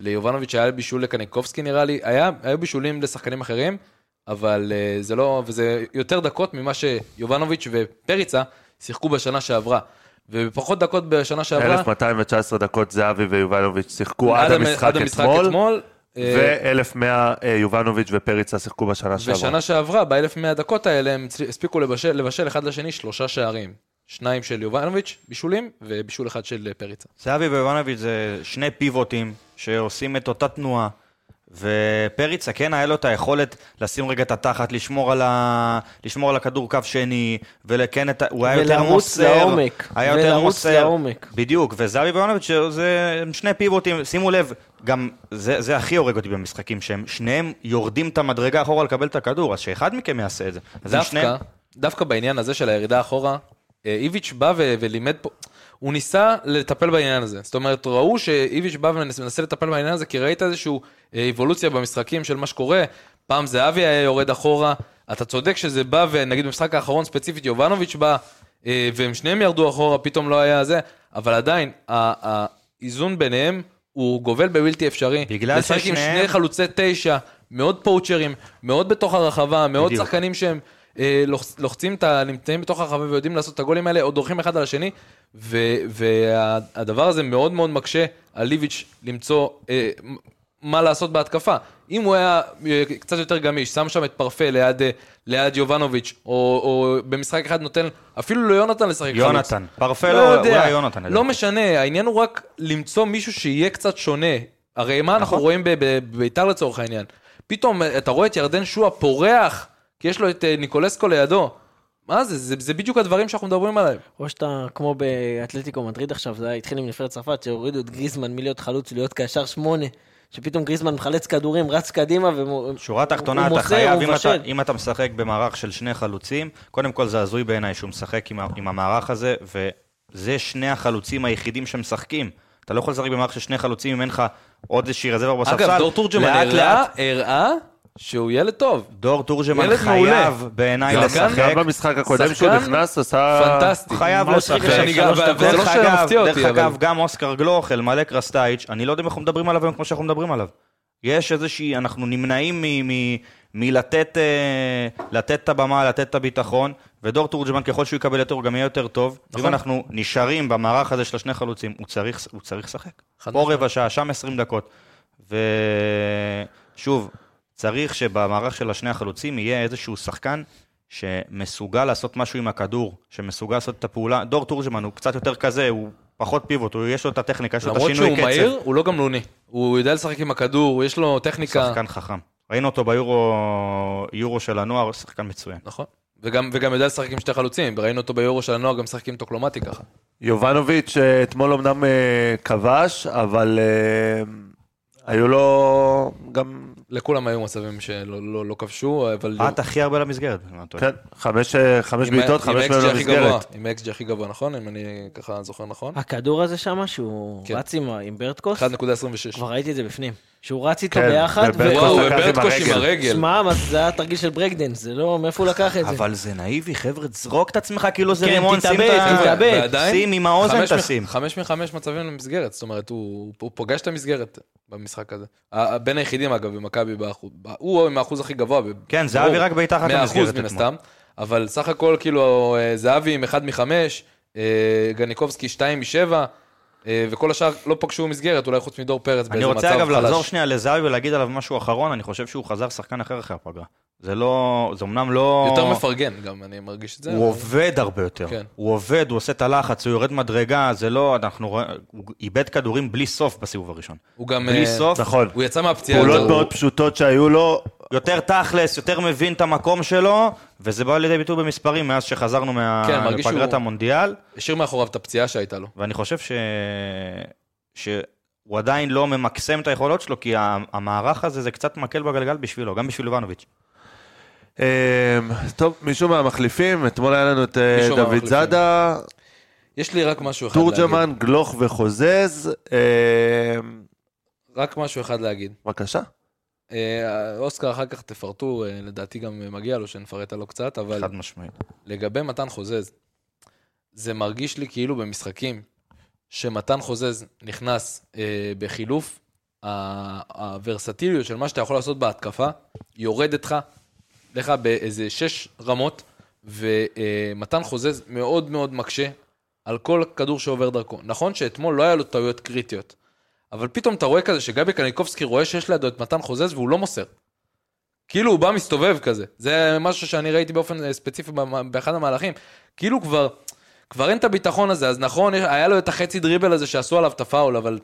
S6: וליובנוביץ', היה בישול לקניקובסקי נראה לי, היה, היו בישולים לשחקנים אחרים, אבל אה, זה לא, וזה יותר דקות ממה שיובנוביץ' ופריצה שיחקו בשנה שעברה. ובפחות דקות בשנה שעברה,
S1: 1,219 דקות זהבי ויובנוביץ' שיחקו עד המשחק
S6: עד
S1: אתמול,
S6: אה,
S1: ו-1,100 יובנוביץ' ופריצה שיחקו בשנה שעברה.
S6: בשנה שעברה, ב-1100 דקות האלה, הם הצל- הספיקו לבשל, לבשל אחד לשני שלושה שערים. שניים של יובנוביץ', בישולים, ובישול אחד של אה, פריצה.
S7: זהבי ויובנוביץ' זה שני פיבוטים שעושים את אותה תנועה. ופריצה כן היה לו את היכולת לשים רגע את התחת, לשמור על, ה... לשמור על הכדור קו שני, וכן, את... ה- הוא היה יותר
S5: ולרוץ
S7: מוסר.
S5: לעומק.
S7: היה יותר
S5: ולרוץ
S7: מוסר.
S5: לעומק.
S7: בדיוק, וזהבי ויובנוביץ' זה הם שני פיבוטים, שימו לב, גם זה, זה הכי הורג אותי במשחקים, שהם שניהם יורדים את המדרגה אחורה לקבל את הכדור, אז שאחד מכם יעשה את זה. אז הם
S6: דווקא,
S7: שניהם-
S6: דווקא בעניין הזה של הירידה אחורה, אה, איביץ' בא ו- ולימד פה, הוא ניסה לטפל בעניין הזה. זאת אומרת, ראו שאיביץ' בא ומנסה לטפל בעניין הזה, כי ראית איזושהי אבולוציה במשחקים של מה שקורה, פעם זהבי היה יורד אחורה, אתה צודק שזה בא, ונגיד במשחק האחרון ספציפית יובנוביץ' בא, אה, והם שניהם ירדו אחורה, פתאום לא היה זה, אבל עדיין, ה- האיזון ביניהם הוא גובל בבלתי אפשרי.
S7: בגלל
S6: לשחק עם
S7: ששניהם-
S6: שני חלוצי תשע, מאוד פואוצ'רים, מאוד בתוך הרחבה, מאוד
S7: בדיוק.
S6: שחקנים שהם אה, לוחצ- לוחצים, את ה- נמצאים בתוך הרחבה ויודעים לעשות את הגולים האלה, או דורכים אחד על השני, והדבר הזה מאוד מאוד מקשה על ליביץ' למצוא אה, מ- מה לעשות בהתקפה. אם הוא היה אה, קצת יותר גמיש, שם שם את פרפה ליד, אה, ליד יובנוביץ', או, או במשחק אחד נותן אפילו ליונתן לשחק חלוץ.
S7: יונתן. פרפה לא, הוא היה יונתן. לדעתי.
S6: לא משנה, העניין הוא רק למצוא מישהו שיהיה קצת שונה. הרי מה
S7: נכון.
S6: אנחנו רואים ב- ב- בביתר לצורך העניין? פתאום אה, אתה רואה את ירדן שואה פורח, כי יש לו את אה, ניקולסקו לידו. מה זה? זה, זה בדיוק הדברים שאנחנו מדברים עליהם.
S5: או שאתה כמו באתלטיקו מדריד עכשיו, זה היה- התחיל עם נבחרת צרפת, שהורידו את גריזמן מלהיות חלוץ להיות קשר שמונה, שפתאום גריזמן מחלץ כדורים, רץ קדימה ומו...
S7: שורה
S5: הוא
S7: תחתונה, אתה
S5: מוסר,
S7: חייב,
S5: הוא
S7: אם אתה,
S5: מבשל.
S7: אם אתה משחק במערך של שני חלוצים, קודם כל זה הזוי בעיניי שהוא משחק עם, ה- עם המערך הזה, וזה שני החלוצים היחידים שמשחקים. אתה לא יכול לשחק במערך של שני חלוצים אם אין לך עוד איזושהי רזרבה בספסל.
S6: אגב, דור תורג'מן
S7: לאט
S6: הראה,
S7: לאט,
S6: הראה שהוא ילד טוב.
S7: דור תורג'מן
S6: ילד מעולה.
S7: חייב בעיניי
S6: גם-
S7: לשחק.
S1: גם במשחק הקודם שהוא
S6: שחקן
S1: נכנס עשה...
S6: פנטסטי.
S7: אה, חייב
S5: ממש
S7: לשחק. אה,
S5: רגע שאני
S6: גם-
S5: שלוש דקות.
S6: וזה לא
S7: דרך
S6: שהיה
S7: אגב-
S6: מפתיע אותי,
S7: דרך
S6: אבל...
S7: אגב, גם אוסקר גלוך, אלמלק רסטאיץ', אני לא יודע אם אנחנו מדברים עליו היום כמו שאנחנו מדברים עליו. יש איזושהי, אנחנו נמנעים מ- מ- מלתת אה, לתת את הבמה, לתת את הביטחון, ודור תורג'מן, ככל שהוא יקבל יותר, הוא גם יהיה יותר טוב. אם אנחנו נשארים במערך הזה של השני חלוצים, הוא צריך הוא צריך לשחק.
S6: חד
S7: פה רבע שעה, שם 20 דקות. ושוב, צריך שבמערך של השני החלוצים יהיה איזשהו שחקן שמסוגל לעשות משהו עם הכדור, שמסוגל לעשות את הפעולה. דור תורג'מן הוא קצת יותר כזה, הוא פחות פיבוט, הוא- יש לו את הטכניקה, יש לו את
S6: למרות
S7: השינוי
S6: שהוא
S7: קצב.
S6: מהיר, הוא לא גמלוני. הוא יודע לשחק עם הכדור, יש לו טכניקה.
S7: שחקן חכם. ראינו אותו ביורו יורו של הנוער, שחקן מצוין.
S6: נכון. וגם, וגם יודע לשחק עם שתי חלוצים, ראינו אותו ביורו של הנוער גם משחק עם טוקלומטי ככה.
S1: יובנוביץ' אה, אתמול אמנם אה, כבש, אבל אה, היו לו גם,
S6: לכולם היו מצבים שלא לא, לא כבשו, אבל...
S7: בעט הכי הרבה למסגרת. אם אני לא טועה.
S1: כן, חמש אה, חמש
S6: עם ה-
S1: בעיטות,
S6: עם
S1: חמש מהן
S6: ה-XG הכי גבוה,
S1: למסגרת.
S6: עם האקסג'י הכי גבוה, נכון? אם אני ככה זוכר נכון?
S5: הכדור הזה שם, שהוא
S6: כן.
S5: רץ עם, ה- עם ברטקוס,
S6: 1.26.
S5: כבר ראיתי את זה בפנים. שהוא רץ איתו
S1: כן,
S5: ביחד,
S1: וברטקוס
S6: וואו,
S1: לקח עם
S6: וברטקוש עם
S1: הרגל.
S6: הרגל.
S5: שמע, מה, זה היה תרגיל של ברקדנס, זה לא, מאיפה הוא לקח את זה?
S7: אבל זה נאיבי, חבר'ה, זרוק את עצמך כאילו זה
S5: כן,
S7: רימון, שים
S5: תתאבד,
S7: את ה...
S5: תתאבד.
S6: ועדיין,
S7: שים עם האוזן,
S6: חמש מ-
S7: תשים.
S6: חמש מחמש מצבים למסגרת, זאת אומרת, הוא הוא פוגש את המסגרת במשחק הזה. ה- בין היחידים, אגב, במכבי, באחוז- ב- הוא עם האחוז הכי גבוה. ב-
S7: כן, זהבי
S6: ברור.
S7: רק בעיטה אחת
S6: 100%
S7: למסגרת
S6: מן
S7: אתמול.
S6: הסתם, אבל סך הכל, כאילו, אה, זהבי עם אחד מחמש, אה, גניקובסקי שתיים משבע, אה, וכל השאר לא פגשו מסגרת, אולי חוץ מדור פרץ
S7: אני
S6: באיזה מצב חלש.
S7: רוצה אגב לחזור שנייה לזהבי ולהגיד עליו משהו אחרון, אני חושב שהוא חזר שחקן אחר אחרי הפגרה. זה לא, זה אמנם לא...
S6: יותר מפרגן גם, אני מרגיש את זה.
S7: הוא עובד הרבה יותר.
S6: כן.
S7: הוא עובד, הוא עושה את הלחץ, הוא יורד מדרגה, זה לא, אנחנו רואים, הוא איבד כדורים בלי סוף בסיבוב הראשון.
S6: הוא גם...
S7: בלי
S6: אה,
S7: סוף,
S1: נכון.
S6: הוא יצא מהפציעה.
S1: פעולות
S6: הזו,
S1: מאוד פשוטות שהיו לו,
S7: יותר תכלס, יותר מבין את המקום שלו, וזה בא לידי ביטוי במספרים מאז שחזרנו
S6: כן,
S7: מה-
S6: מרגיש
S7: מפגרת
S6: שהוא-
S7: המונדיאל.
S6: הוא השאיר מאחוריו את הפציעה שהייתה לו.
S7: ואני חושב ש... שהוא עדיין לא ממקסם את היכולות שלו, כי ה- המערך הזה זה קצת מקל בגלגל בשבילו, גם בשביל יובנוביץ'.
S1: אה, טוב, מישהו מהמחליפים, אתמול היה לנו את אה,
S6: מישהו
S1: דוד
S6: מהמחליפים.
S1: זאדה,
S6: יש לי רק משהו אחד להגיד.
S1: תורג'מן, גלוך וחוזז, אה,
S6: רק משהו אחד להגיד.
S1: בבקשה.
S6: אה, אוסקר, אחר כך תפרטו, אה, לדעתי גם אה, מגיע לו שנפרט עליו קצת, אבל
S7: חד משמעית.
S6: לגבי מתן חוזז, זה מרגיש לי כאילו במשחקים שמתן חוזז נכנס אה, בחילוף, ה- הוורסטיליות של מה שאתה יכול לעשות בהתקפה, יורדת לך, לך באיזה שש רמות, ומתן חוזז מאוד מאוד מקשה על כל כדור שעובר דרכו. נכון שאתמול לא היה לו טעויות קריטיות, אבל פתאום אתה רואה כזה שגבי קניקובסקי רואה שיש לידו את מתן חוזז והוא לא מוסר. כאילו הוא בא מסתובב כזה. זה משהו שאני ראיתי באופן אה, ספציפי במ- באחד המהלכים. כאילו כבר, כבר אין את הביטחון הזה, אז נכון, יש- היה לו את החצי דריבל הזה שעשו עליו את הפאול, אבל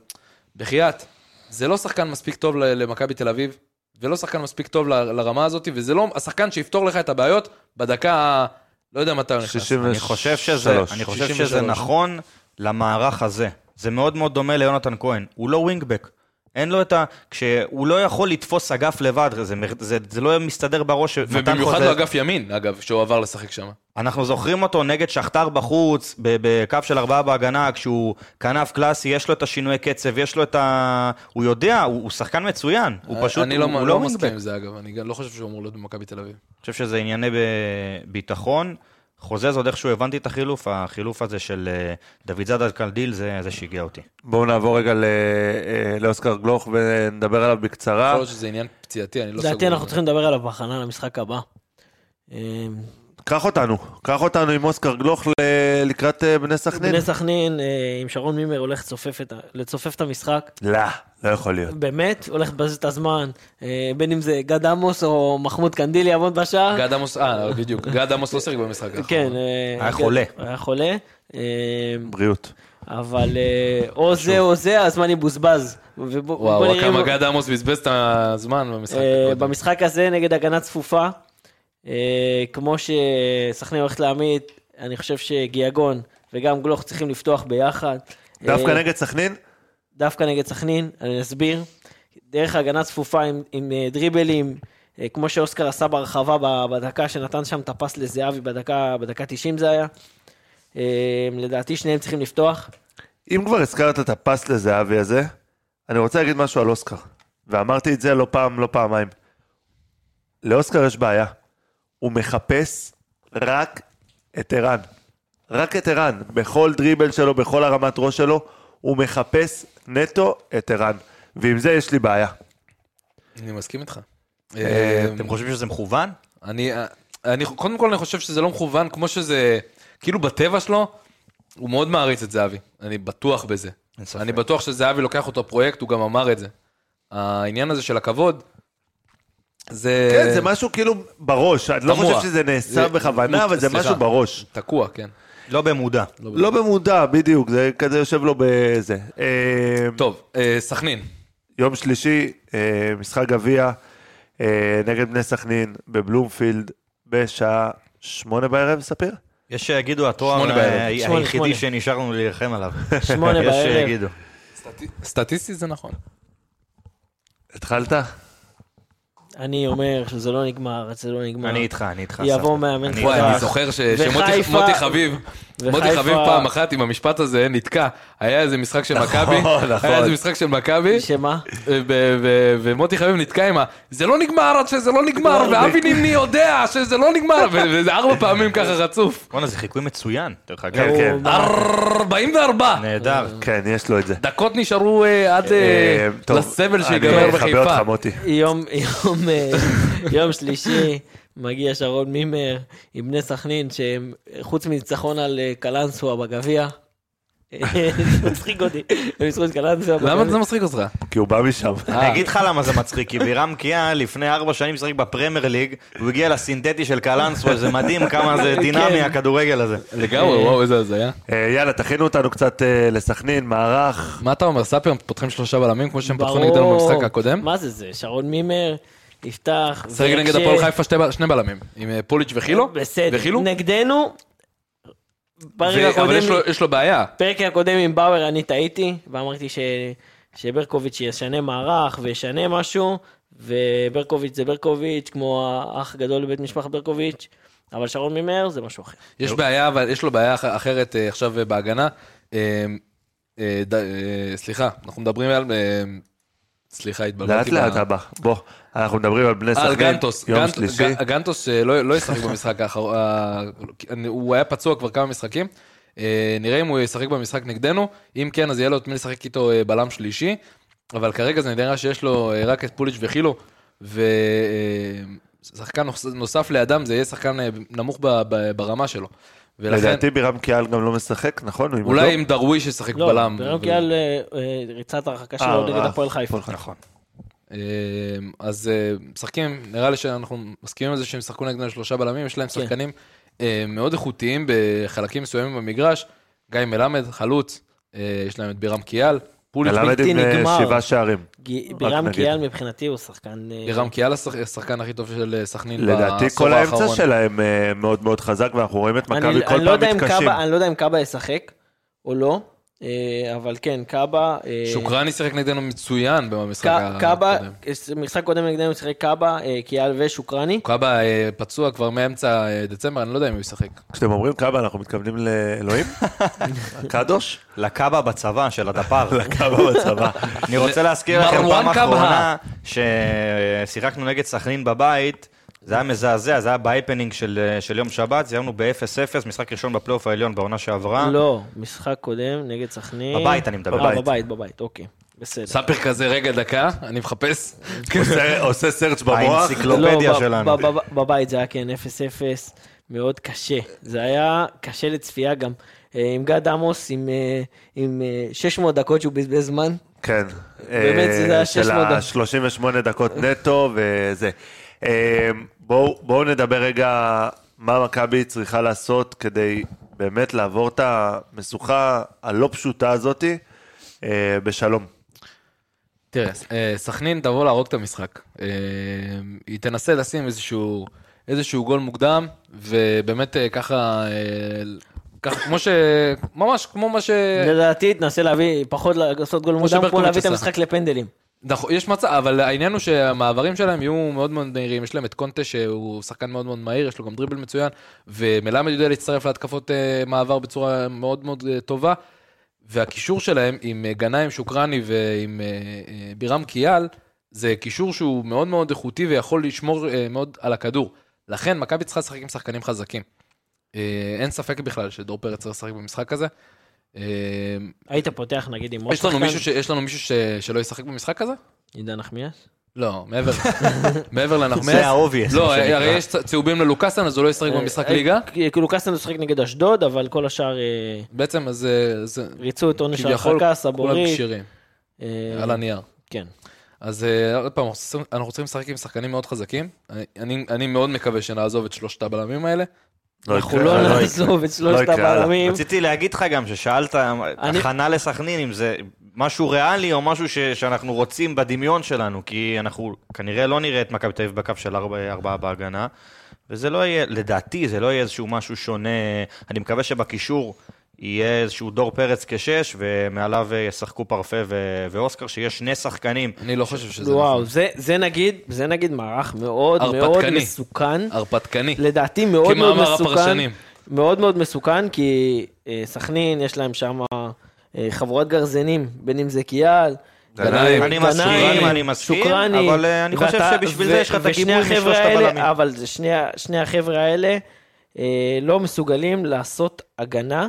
S6: בחייאת, זה לא שחקן מספיק טוב ל- למכבי תל אביב, ולא שחקן מספיק טוב ל- לרמה הזאת, וזה לא השחקן שיפתור לך את הבעיות בדקה, ה- לא יודע מתי הוא נכנס.
S7: אני חושב שזה, אני חושב שזה
S6: 63.
S7: נכון למערך הזה. זה מאוד מאוד דומה ליונתן כהן. הוא לא ווינגבק. אין לו את ה... כשהוא לא יכול לתפוס אגף לבד, זה, מר- זה, זה לא מסתדר בראש. שמתן
S6: ובמיוחד לא
S7: חוזז-
S6: באגף ימין, אגב, שהוא עבר לשחק שם.
S7: אנחנו זוכרים אותו נגד שכתר בחוץ, ב- בקו של ארבעה בהגנה, כשהוא כנף קלאסי, יש לו את השינוי קצב, יש לו את ה... הוא יודע, הוא, הוא שחקן מצוין. הוא פשוט,
S6: אני
S7: הוא,
S6: לא,
S7: הוא
S6: לא
S7: ווינגבק.
S6: מסכים עם זה, אגב, אני גם לא חושב שהוא אמור להיות במכבי תל אביב.
S7: אני חושב שזה ענייני ביטחון. חוזז עוד איכשהו הבנתי את החילוף, החילוף הזה של אה, דוד זאדה קלדיל, זה, זה שיגע אותי.
S1: בואו נעבור רגע ל- אה, לאוסקר גלוך ונדבר עליו בקצרה.
S6: יכול להיות שזה עניין פציעתי, אני לא
S5: לדעתי אנחנו צריכים לדבר עליו בהכנה למשחק הבא. אה,
S1: קח אותנו, קח אותנו עם אוסקר גלוך ל- לקראת אה, בני סכנין.
S5: בני סכנין, אה, עם שרון מימר הולך לצופף את ה- לצופף את המשחק.
S1: לא, לא יכול להיות.
S5: באמת, הולך לבזבז את הזמן, אה, בין אם זה גד עמוס או מחמוד קנדיל יעמוד בשער.
S6: גד עמוס, אה, בדיוק. גד עמוס לא שיחק במשחק האחרון.
S5: כן, אה,
S7: היה
S5: גד-
S7: חולה.
S5: היה חולה, אה,
S1: בריאות.
S5: אבל אה, או זה או זה, הזמן יבוזבז. ובוא- בוא
S6: וואו,
S5: נראה
S6: כמה
S5: אם-
S6: גד עמוס בזבז את הזמן במשחק.
S5: אה,
S6: הקודם.
S5: במשחק הזה נגד הגנה צפופה, אה, כמו שסכנין הולכת להעמיד, אני חושב שגיאגון וגם גלוך צריכים לפתוח ביחד.
S1: דווקא
S5: אה,
S1: נגד סכנין?
S5: דווקא נגד סכנין, אני אסביר. דרך הגנה צפופה עם, עם אה, דריבלים, אה, כמו שאוסקר עשה ברחבה ב- בדקה שנתן שם את הפס לזהבי בדקה, בדקה 90 זה היה. אה, לדעתי שניהם צריכים לפתוח.
S1: אם כבר הזכרת את הפס לזהבי הזה, אני רוצה להגיד משהו על אוסקר. ואמרתי את זה לא פעם, לא פעמיים. לאוסקר יש בעיה. הוא מחפש רק את ערן. רק את ערן. בכל דריבל שלו, בכל הרמת ראש שלו, הוא מחפש נטו את ערן. ועם זה יש לי בעיה.
S6: אני מסכים איתך.
S7: אה,
S6: אה,
S7: אתם חושבים שזה מכוון?
S6: אני, אה, אני, קודם כל אני חושב שזה לא מכוון, כמו שזה, כאילו בטבע שלו, הוא מאוד מעריץ את זהבי, אני בטוח בזה.
S7: אין ספק.
S6: אני בטוח שזהבי לוקח אותו פרויקט, הוא גם אמר את זה. העניין הזה של הכבוד, זה...
S1: כן, זה משהו כאילו בראש. אני לא
S6: אה, תמוה.
S1: חושב שזה נעשה
S6: זה- לא,
S1: בכוונה, אבל זה
S6: סליחה.
S1: משהו בראש.
S6: תקוע, כן.
S7: לא במודע.
S1: לא במודע, בדיוק. זה כזה יושב לו בזה. אה,
S6: טוב, אה, סכנין.
S1: יום שלישי, אה, משחק גביע אה, נגד בני סכנין בבלומפילד בשעה שמונה בערב, ספיר?
S7: יש שיגידו התואר
S6: שמונה בערב.
S7: אה,
S5: שמונה, שמונה.
S7: היחידי שנשארנו להילחם עליו.
S5: שמונה
S7: יש
S5: בערב.
S7: שיגידו.
S6: סטטיסטית זה נכון.
S1: התחלת?
S5: אני אומר שזה לא נגמר, זה לא נגמר.
S7: אני איתך, אני איתך.
S5: יבוא
S7: אסף.
S5: מאמן
S7: אני-
S5: חדש.
S6: וואי, אני
S5: וואי.
S6: זוכר ש-
S5: כן. וחיפה-
S6: שמוטי מוטי חביב, מוטי
S5: וחיפה-
S6: חביב פעם אחת עם המשפט הזה נתקע. היה איזה משחק של מכבי,
S1: נכון.
S6: היה איזה משחק של מכבי,
S5: שמה?
S6: ו- ו- ומוטי חביב נתקע עם ה... זה לא נגמר עד שזה לא נגמר, ואבי נימני יודע שזה לא נגמר, ו- וזה ארבע פעמים ככה רצוף.
S7: בואנה, זה חיקוי מצוין, דרך אגב.
S1: כן, כן.
S6: 44!
S7: נהדר.
S5: אה.
S1: כן, יש לו את זה.
S6: דקות נשארו אה, עד אה,
S1: אה, טוב,
S6: לסבל שיגמר
S1: אני אחבר
S6: בחיפה.
S1: אותך, מוטי.
S5: יום, יום, אה, יום שלישי, מגיע שרון מימר עם בני סכנין, שהם חוץ מניצחון על אה, קלנסווה בגביע. אה, זה מצחיק אותי, הם ניצחו את קלנסווה
S6: למה
S5: בגביע.
S6: זה לא מצחיק אותך?
S1: כי הוא בא משם.
S7: אני אגיד לך למה זה מצחיק, כי בירם קיאה לפני ארבע שנים משחק בפרמייר ליג, הוא הגיע לסינתטי של קלנסווה, זה מדהים כמה זה דינמי
S5: כן.
S7: הכדורגל הזה.
S6: לגמרי, וואו, איזה הזיה.
S1: אה, יאללה, תכינו אותנו קצת אה, לסכנין, מערך.
S6: מה אתה אומר, ספיר, הם פותחים שלושה בלמים כמו שהם פתחו
S5: ברור.
S6: נגדנו במשחק הקודם?
S5: מה זה זה? שרון מימר, יפתח.
S6: שיחק נגד
S5: ויקשה.
S6: הפועל חיפה שתי בל- שני בלמים, עם אה, פוליץ' וחילו,
S5: בסדר,
S6: וחילו,
S5: נגדנו.
S6: ו-
S5: פרק
S6: אבל
S5: הקודם,
S6: יש לו- יש לו בעיה.
S5: פרק הקודם עם באואר אני טעיתי, ואמרתי ש... שברקוביץ' ישנה מערך וישנה משהו, וברקוביץ' זה ברקוביץ', כמו האח הגדול לבית משפחת ברקוביץ', אבל שרון מימר זה משהו אחר.
S6: יש בעיה, אבל יש לו בעיה אח- אחרת אה, עכשיו אה, בהגנה. אה, אה, ד- אה, סליחה, אנחנו מדברים על... אה, סליחה,
S1: לאט
S6: התבלבלתי.
S1: לאט
S6: ב-
S1: הבא. בוא, אנחנו מדברים על בני
S6: אה, על
S1: סכנין.
S6: גנטוס.
S1: יום
S6: גנט-
S1: שלישי.
S6: ג- גנטוס אה, לא לא ישחק במשחק האחרון. אה, הוא היה פצוע כבר כמה משחקים. אה, נראה אם הוא ישחק במשחק נגדנו, אם כן, אז יהיה לו את מי לשחק איתו אה, בלם שלישי, אבל כרגע זה נראה שיש לו אה, רק את פוליץ' וחילו, ושחקן נוסף לידם זה יהיה שחקן אה, נמוך ב- ב- ברמה שלו. ולכן,
S1: לדעתי בירם קיאל גם לא משחק, נכון? הוא עם
S6: אולי
S1: אדום?
S6: אם דרוויש ישחק
S5: לא,
S6: בלם.
S5: ברם
S6: אבל-
S5: קיאל אה, אה, ריצת ההרחקה
S1: אה,
S5: שלו נגד
S1: אה,
S5: הפועל חיפה.
S7: נכון.
S6: אה, אז אה, משחקים, נראה לי שאנחנו מסכימים על זה שהם שחקו נגדנו שלושה בלמים, יש להם
S5: כן.
S6: שחקנים אה, מאוד איכותיים בחלקים מסוימים במגרש, גיא מלמד, חלוץ, אה, יש להם את בירם קיאל, פוליץ'
S1: מלמד
S5: בלתי
S1: עם אה,
S5: נגמר.
S1: שבעה שערים.
S5: גי-
S1: רק
S5: בירם
S1: נגיד.
S5: קיאל מבחינתי הוא שחקן... אה,
S6: בירם קיאל השח- השחקן הכי טוב של אה, סכנין בעשור האחרון.
S1: לדעתי כל האמצע שלהם אה, מאוד מאוד חזק, ואנחנו רואים את
S5: אני-
S1: מכבי
S5: אני
S1: כל
S5: לא
S1: פעם
S5: יודע אם
S1: מתקשים.
S5: קאבה- אני לא יודע אם קאבה ישחק או לא, אה, אבל כן, קאבה... אה,
S6: שוקרני שיחק נגדנו מצוין במשחק
S5: ק- קאבה, אה,
S6: הקודם.
S5: משחק קודם נגדנו שיחק קאבה, אה, קיאל ושוקרני.
S6: קאבה אה, פצוע כבר מאמצע אה, דצמבר, אני לא יודע אם הוא ישחק.
S1: כשאתם אומרים קאבה, אנחנו מתכוונים לאלוהים? הקדוש?
S7: לקאבה בצבא של הדפ"ר.
S1: לקאבה בצבא.
S5: כן.
S7: אני רוצה להזכיר לכם
S6: מרואן
S7: פעם
S6: קאבה.
S7: אחרונה ששיחקנו נגד סכנין בבית, זה היה מזעזע, זה היה בהייפנינג של של יום שבת, סיימנו ב-0-0, משחק ראשון בפלייאוף העליון בעונה שעברה.
S5: לא, משחק קודם נגד סכנין.
S7: אה? בבית אני מדבר.
S5: אה,
S1: בבית.
S5: בבית, בבית, אוקיי, בסדר.
S6: סאפר כזה, רגע, דקה, אני מחפש. כן.
S1: עושה- עושה סרצ' במוח.
S7: האנציקלופדיה
S5: לא, ב-
S7: שלנו.
S5: ב- ב- בבית זה היה כן 0-0, מאוד קשה. זה היה קשה לצפייה גם. אה, עם גד עמוס, עם, אה, עם אה, 600 דקות שהוא בזבז זמן.
S1: כן.
S5: באמת, זה
S1: אה,
S5: היה
S1: של
S5: 600 דקות.
S1: ה-38 דקות נטו וזה. אה, בואו בואו נדבר רגע מה מכבי צריכה לעשות כדי באמת לעבור את המשוכה הלא פשוטה הזאתי אה, בשלום.
S6: תראה, אה, סכנין תבוא להרוג את המשחק. אה, היא תנסה לשים איזשהו, איזשהו גול מוקדם, ובאמת אה, ככה, אה, ככה, כמו ש... ממש כמו מה ש...
S5: לדעתי, תנסה להביא, פחות לעשות גול מוקדם, כמו
S6: שברקוביץ'
S5: להביא את
S6: עשה.
S5: המשחק לפנדלים.
S6: נכון, יש מצב, אבל העניין הוא שהמעברים שלהם יהיו מאוד מאוד מהירים. יש להם את קונטה שהוא שחקן מאוד מאוד מהיר, יש לו גם דריבל מצוין, ומלמד יודע להצטרף להתקפות אה, מעבר בצורה מאוד מאוד אה, טובה. והקישור שלהם עם אה, גנאים שוקרני ועם אה, אה, בירם קיאל, זה קישור שהוא מאוד מאוד איכותי ויכול לשמור אה, מאוד על הכדור. לכן מכבי צריכה לשחק עם שחקנים חזקים. אה, אין ספק בכלל שדור פרץ צריך לשחק במשחק הזה. אה,
S5: היית פותח נגיד עם עוד
S6: יש לנו מישהו, ש... יש לנו מישהו ש... שלא ישחק במשחק הזה?
S5: עידן נחמיאס?
S6: לא, מעבר, מעבר לנחמס.
S7: זה ה-obvious,
S6: לא,
S7: מה שנקרא.
S6: הרי יש צ- צהובים ללוקאסן, אז הוא לא ישחק במשחק
S5: אה,
S6: ליגה.
S5: אה, כאילו קסטן הוא שחק נגד אשדוד, אבל כל השאר אה,
S6: בעצם, אז אה, זה
S5: ריצו את עונש
S6: כביכול
S5: ההרחקה,
S6: כולם
S5: סבורית.
S6: כשירים,
S5: אה,
S6: על הנייר.
S5: כן.
S6: אז אה, עוד פעם, אנחנו צריכים- אנחנו צריכים לשחק עם שחקנים מאוד חזקים. אני- אני מאוד מקווה שנעזוב את שלושת הבלמים האלה.
S5: אנחנו
S1: יקרה,
S5: לא
S1: לא
S5: נעזוב את שלושת
S1: יקרה, הלאה.
S5: הבלמים.
S7: רציתי להגיד לך גם ששאלת, הכנה לסכנין, אם זה משהו ריאלי או משהו ש- שאנחנו רוצים בדמיון שלנו, כי אנחנו כנראה לא נראה את מכבי תל אביב בקו של ארבע- ארבעה בהגנה, וזה לא יהיה, לדעתי, זה לא יהיה איזשהו משהו שונה. אני מקווה שבקישור יהיה איזשהו דור פרץ כשש, ומעליו ישחקו פרפה ו- ואוסקר, שיש שני שחקנים.
S6: אני לא חושב שזה
S5: וואו,
S6: נכון.
S5: זה, זה נגיד, זה נגיד מערך מאוד
S6: הרפתקני.
S5: מאוד מסוכן.
S6: נכון. הרפתקני.
S5: לדעתי מאוד מאוד
S6: כמאמר
S5: מסוכן.
S6: הפרשנים.
S5: מאוד מאוד מסוכן, כי אה, סכנין, יש להם שם אה, חבורת גרזנים, בין אם זה קיאל.
S6: גנאים.
S7: אני מסכים, אני מסכים,
S5: שוקרני,
S7: אבל אה, אני חושב
S5: ואתה-
S7: שבשביל
S5: ו-
S7: זה יש לך את
S5: ושני
S7: הגיבוי
S5: החבר'ה
S7: משלושת
S5: האלה-
S7: הבלמים.
S5: אבל זה שני, ה- שני החבר'ה האלה אה, לא מסוגלים לעשות הגנה,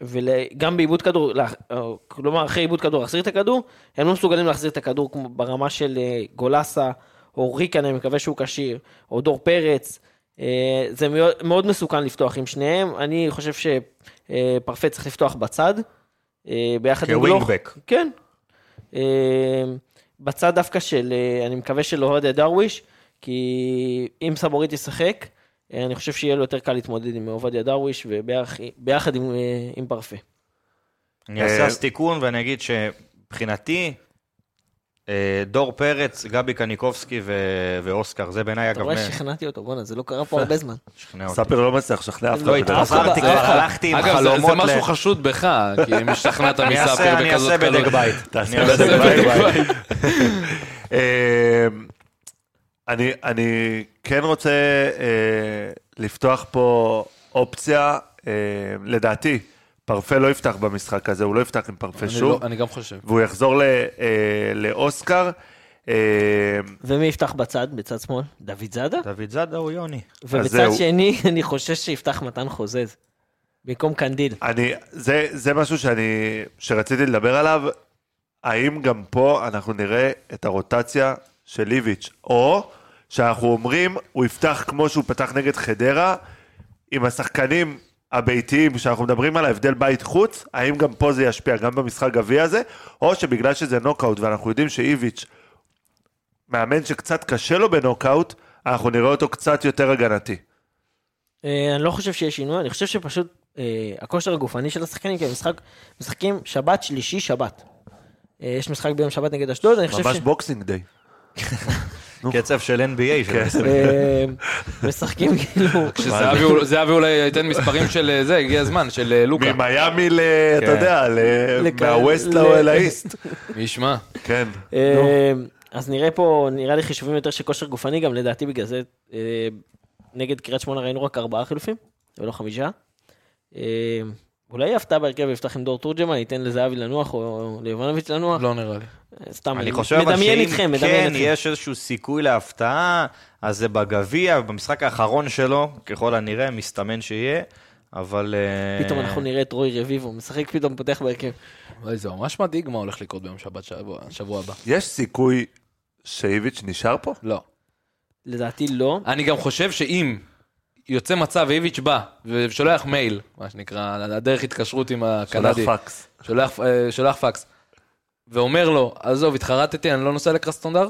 S5: וגם בעיבוד כדור, לה- אה, כלומר אחרי עיבוד כדור להחזיר את הכדור, הם לא מסוגלים להחזיר את הכדור כמו ברמה של אה, גולסה, או ריקן, אני מקווה שהוא כשיר, או דור פרץ. אה, זה מאוד, מאוד מסוכן לפתוח עם שניהם, אני חושב שפרפה צריך לפתוח בצד, אה, ביחד עם גלוך.
S7: כווינגבק.
S5: כן. אה, בצד דווקא של, אה, אני מקווה של אוהד דרוויש, כי אם סבורית ישחק, אה, אני חושב שיהיה לו יותר קל להתמודד עם עובדיה דרוויש וביחד עם, אה, עם פרפה.
S7: אני
S1: אה,
S7: אעשה אז תיקון ואני אגיד שמבחינתי, אה, דור פרץ, גבי קניקובסקי ו- ואוסקר, זה בעיניי
S5: אתה
S7: אגב...
S5: רואה
S7: מ-
S5: ששכנעתי אותו, בואנה, זה לא קרה פה הרבה זמן.
S7: שכנע אותי.
S1: ספיר לא מצליח לשכנע אף אחד.
S7: לא,
S1: בדרך כלל.
S7: התחזרתי כבר, הלכתי עם
S6: אה, אגב, זה- זה
S7: חלומות
S6: משהו
S7: ל...
S6: חשוד בך, כי אם השתכנעת
S7: אני
S6: מספיר
S7: אעשה- אני
S6: בכזאת
S7: אעשה בדק
S6: קלות.
S7: בית.
S1: תעשה
S7: אני אעשה
S1: בדק
S7: בדק
S1: בית.
S7: בית.
S1: אמ, אני, אני כן רוצה אה, לפתוח פה אופציה, אה, לדעתי, פרפה לא יפתח במשחק הזה, הוא לא יפתח עם פרפה
S6: אני לא-
S1: שוב,
S6: אני גם חושב.
S1: והוא יחזור ל, אה, לאוסקר. אה,
S5: ומי יפתח בצד, בצד שמאל? דוד זאדה?
S7: דוד זאדה הוא יוני.
S5: ובצד
S1: זהו.
S5: שני, אני חושש שיפתח מתן חוזז. במקום קנדיל.
S1: אני, זה, זה משהו שאני, שרציתי לדבר עליו, האם גם פה אנחנו נראה את הרוטציה של איביץ', או שאנחנו אומרים, הוא יפתח כמו שהוא פתח נגד חדרה, עם השחקנים הביתיים שאנחנו מדברים על ההבדל בית חוץ, האם גם פה זה ישפיע, גם במשחק גביע הזה, או שבגלל שזה נוקאוט ואנחנו יודעים שאיביץ' מאמן שקצת קשה לו בנוקאוט, אנחנו נראה אותו קצת יותר הגנתי.
S5: אה, אני לא חושב שיש שינוי, אני חושב שפשוט אה, הכושר הגופני של השחקנים, כי הם משחק, משחקים שבת, שלישי, שבת. אה, יש משחק ביום שבת נגד אשדוד, אני חושב
S1: ממש
S5: ש...
S1: בוקסינג דיי.
S7: קצב של NBA
S1: כן.
S7: של ה-20.
S5: אה, משחקים כאילו...
S7: לא.
S6: כשזהבי אול- זהבי אולי ייתן מספרים של אה, זה, הגיע הזמן, של אה, לוקה.
S1: ממיאמי ל...
S6: כן.
S1: אתה יודע, ל-
S5: לכ-
S1: מהווסט
S5: ל-
S1: לא- לאיסט.
S6: מי ישמע?
S1: כן.
S5: אה, אז נראה פה, נראה לי חישובים יותר של כושר גופני, גם לדעתי בגלל זה אה, נגד קריית שמונה ראינו רק ארבעה חילופים, ולא חמישה. אה, אולי יהיה הפתעה בהרכב יפתח עם דור תורג'מן, ייתן לזהבי לנוח או ליובנוביץ' לנוח,
S6: לא נראה לי.
S5: סתם,
S7: אני
S5: מ-
S7: חושב אבל
S5: מדמיין
S7: שאם
S5: איתכם, מדמיין
S7: כן
S5: איתכם.
S7: יש איזשהו סיכוי להפתעה, אז זה בגביע, במשחק האחרון שלו, ככל הנראה, מסתמן שיהיה, אבל... אה,
S5: פתאום אנחנו נראה את רוי רביבו, משחק פתאום פותח בהרכב.
S6: אוי, זה ממש מדאיג מה הולך לקרות ביום שבת שבוע שבוע הבא.
S1: יש סיכוי שאיביץ' נשאר פה?
S6: לא.
S5: לדעתי לא.
S6: אני גם חושב שאם יוצא מצב ואיביץ' בא ושולח מייל, מה שנקרא, הדרך התקשרות עם
S1: שולח
S6: הקנדי,
S1: פקס.
S6: שולח, אה, שולח פקס, ואומר לו, עזוב, התחרטתי, אני לא נוסע לקרסטונדר,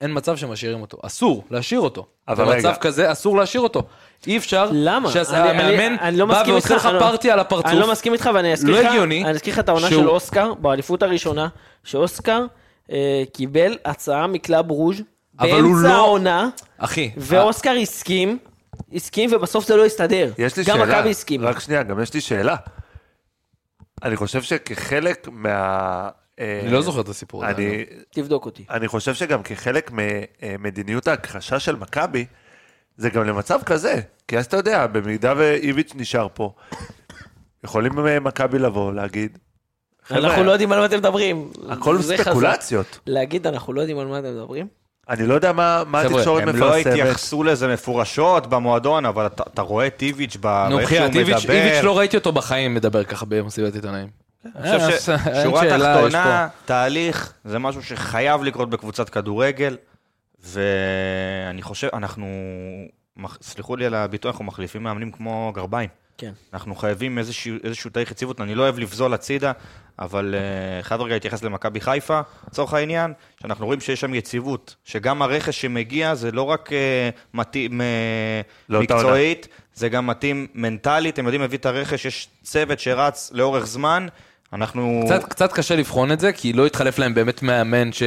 S6: אין מצב שמשאירים אותו. אסור להשאיר אותו.
S1: אבל
S6: במצב
S1: רגע.
S6: כזה אסור להשאיר אותו. אי אפשר
S5: למה? אני-
S6: שהמאמן
S5: אני- אני לא
S6: בא
S5: מסכים
S6: ועושה
S5: איתך,
S6: לך
S5: אני לא-
S6: פארטי על הפרצוף.
S5: אני לא מסכים איתך, ואני אזכיר
S6: לא
S5: לך,
S6: הגיוני
S5: אני אזכיר לך את העונה
S6: שהוא-
S5: של אוסקר, באליפות הראשונה, שאוסקר אה, קיבל הצעה מקלאב רוז'
S6: אבל הוא
S5: באמצע
S6: לא- אה.
S5: העונה,
S6: אחי,
S5: ואוסקר הסכים, הסכים, ובסוף זה לא הסתדר.
S1: יש לי
S5: גם
S1: שאלה.
S5: מכבי הסכים.
S1: רק שנייה, גם יש לי שאלה. אני חושב שכחלק מה... אה,
S6: אני לא זוכר את הסיפור הזה.
S1: אני,
S5: תבדוק אותי.
S1: אני חושב שגם כחלק ממדיניות ההכחשה של מכבי, זה גם למצב כזה. כי אז אתה יודע, במידה ואיביץ' נשאר פה, יכולים אה, מכבי לבוא, להגיד,
S5: אנחנו
S1: חבר'ה,
S5: לא יודעים על מה אתם מדברים.
S1: הכל
S5: זה חזק.
S1: ספקולציות.
S5: להגיד, אנחנו לא יודעים על מה אתם מדברים.
S1: אני לא יודע מה מה
S6: חבר'ה,
S1: התקשורת
S7: הם לא
S1: מפרסמת.
S7: התייחסו לזה מפורשות במועדון, אבל אתה אתה רואה את איביץ' ב-
S6: נו,
S7: באיך
S6: בחייאת,
S7: שהוא
S6: איביץ' איביץ'
S7: מדבר. כן,
S6: לא ראיתי אותו בחיים מדבר ככה במסיבת עיתונאים. אה,
S7: אני חושב
S6: אין
S7: ששורה
S6: שאלה, יש
S7: תחתונה, תהליך, זה משהו שחייב לקרות בקבוצת כדורגל, ואני חושב, אנחנו, מח- סלחו לי על הביטוי, אנחנו מחליפים מאמנים כמו גרביים.
S5: כן.
S7: אנחנו חייבים איזשהו, איזשהו תהליך יציבות, אני לא אוהב לבזול הצידה, אבל אה, חייב רגע להתייחס למכבי חיפה, לצורך העניין, שאנחנו רואים שיש שם יציבות, שגם הרכש שמגיע זה לא רק אה, מתאים אה,
S1: לאותה עונה.
S7: מקצועית, זה גם מתאים מנטלית, אתם יודעים, הביא את הרכש, יש צוות שרץ לאורך זמן, אנחנו...
S6: קצת, קצת קשה לבחון את זה, כי לא התחלף להם באמת מאמן ש,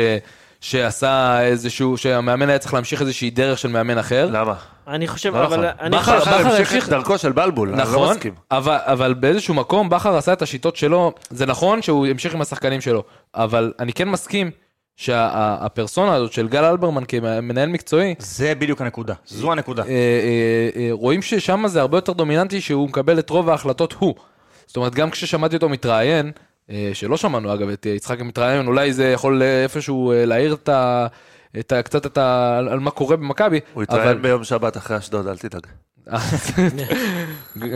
S6: שעשה איזשהו, שהמאמן היה צריך להמשיך איזושהי דרך של מאמן אחר.
S7: לא,
S1: למה?
S5: אני חושב,
S1: לא נכון.
S5: אבל... אני
S6: בכר-
S5: חושב-
S1: בכר המשיך
S6: המשיך-
S1: את דרכו של בלבול, אני לא
S6: נכון,
S1: מסכים.
S6: אבל, אבל באיזשהו מקום בכר עשה את השיטות שלו, זה נכון שהוא המשיך עם השחקנים שלו, אבל אני כן מסכים שהפרסונה הזאת של גל אלברמן כמנהל מקצועי,
S7: זה בדיוק הנקודה, זו הנקודה.
S6: אה, אה, אה, רואים ששם זה הרבה יותר דומיננטי שהוא מקבל את רוב ההחלטות הוא. זאת אומרת, גם כששמעתי אותו מתראיין, אה, שלא שמענו אגב את אה, יצחק מתראיין, אולי זה יכול אה, איפשהו אה, להעיר את ה... את ה... קצת את ה... על על מה קורה במכבי.
S1: הוא
S6: אבל-
S1: התראיין ביום שבת אחרי אשדוד, אל תדאג.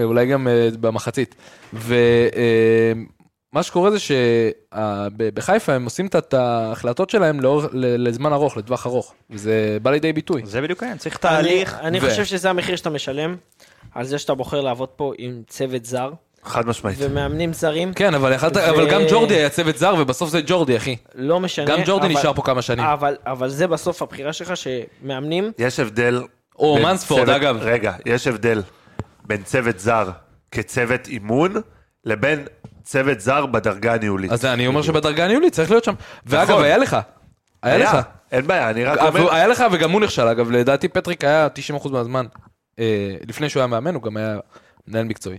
S6: אולי גם אה, במחצית. ומה שקורה זה שבחיפה הם עושים את ה- את ההחלטות שלהם לאורך- ל- לזמן ארוך, לטווח ארוך. וזה בא לידי ביטוי.
S7: זה בדיוק העניין, צריך
S5: אני-
S7: תהליך.
S5: אני
S6: ו-
S5: חושב שזה המחיר שאתה משלם, על זה שאתה בוחר לעבוד פה עם צוות זר,
S1: חד משמעית.
S5: ומאמנים זרים.
S6: כן, אבל יכלת-
S5: ו-
S6: אבל גם ג'ורדי היה צוות זר, ובסוף זה ג'ורדי, אחי.
S5: לא משנה.
S6: גם ג'ורדי
S5: אבל-
S6: נשאר פה כמה שנים.
S5: אבל, אבל זה בסוף הבחירה שלך, שמאמנים,
S1: יש הבדל...
S6: או
S1: בין
S6: מנספורד,
S1: צוות-
S6: אגב.
S1: רגע, יש הבדל בין צוות זר כצוות אימון, לבין צוות זר בדרגה הניהולית.
S6: אז
S5: אה,
S6: אני אומר שבדרגה הניהולית צריך להיות שם. ואגב,
S5: נכון.
S6: היה לך. היה לך. אה,
S1: אין בעיה, אני רק
S6: אבל
S1: אומר...
S6: היה לך וגם הוא נכשל, אגב, לדעתי פטריק היה 90% מהזמן. אה, לפני שהוא היה מאמן, הוא גם היה מנהל מקצועי.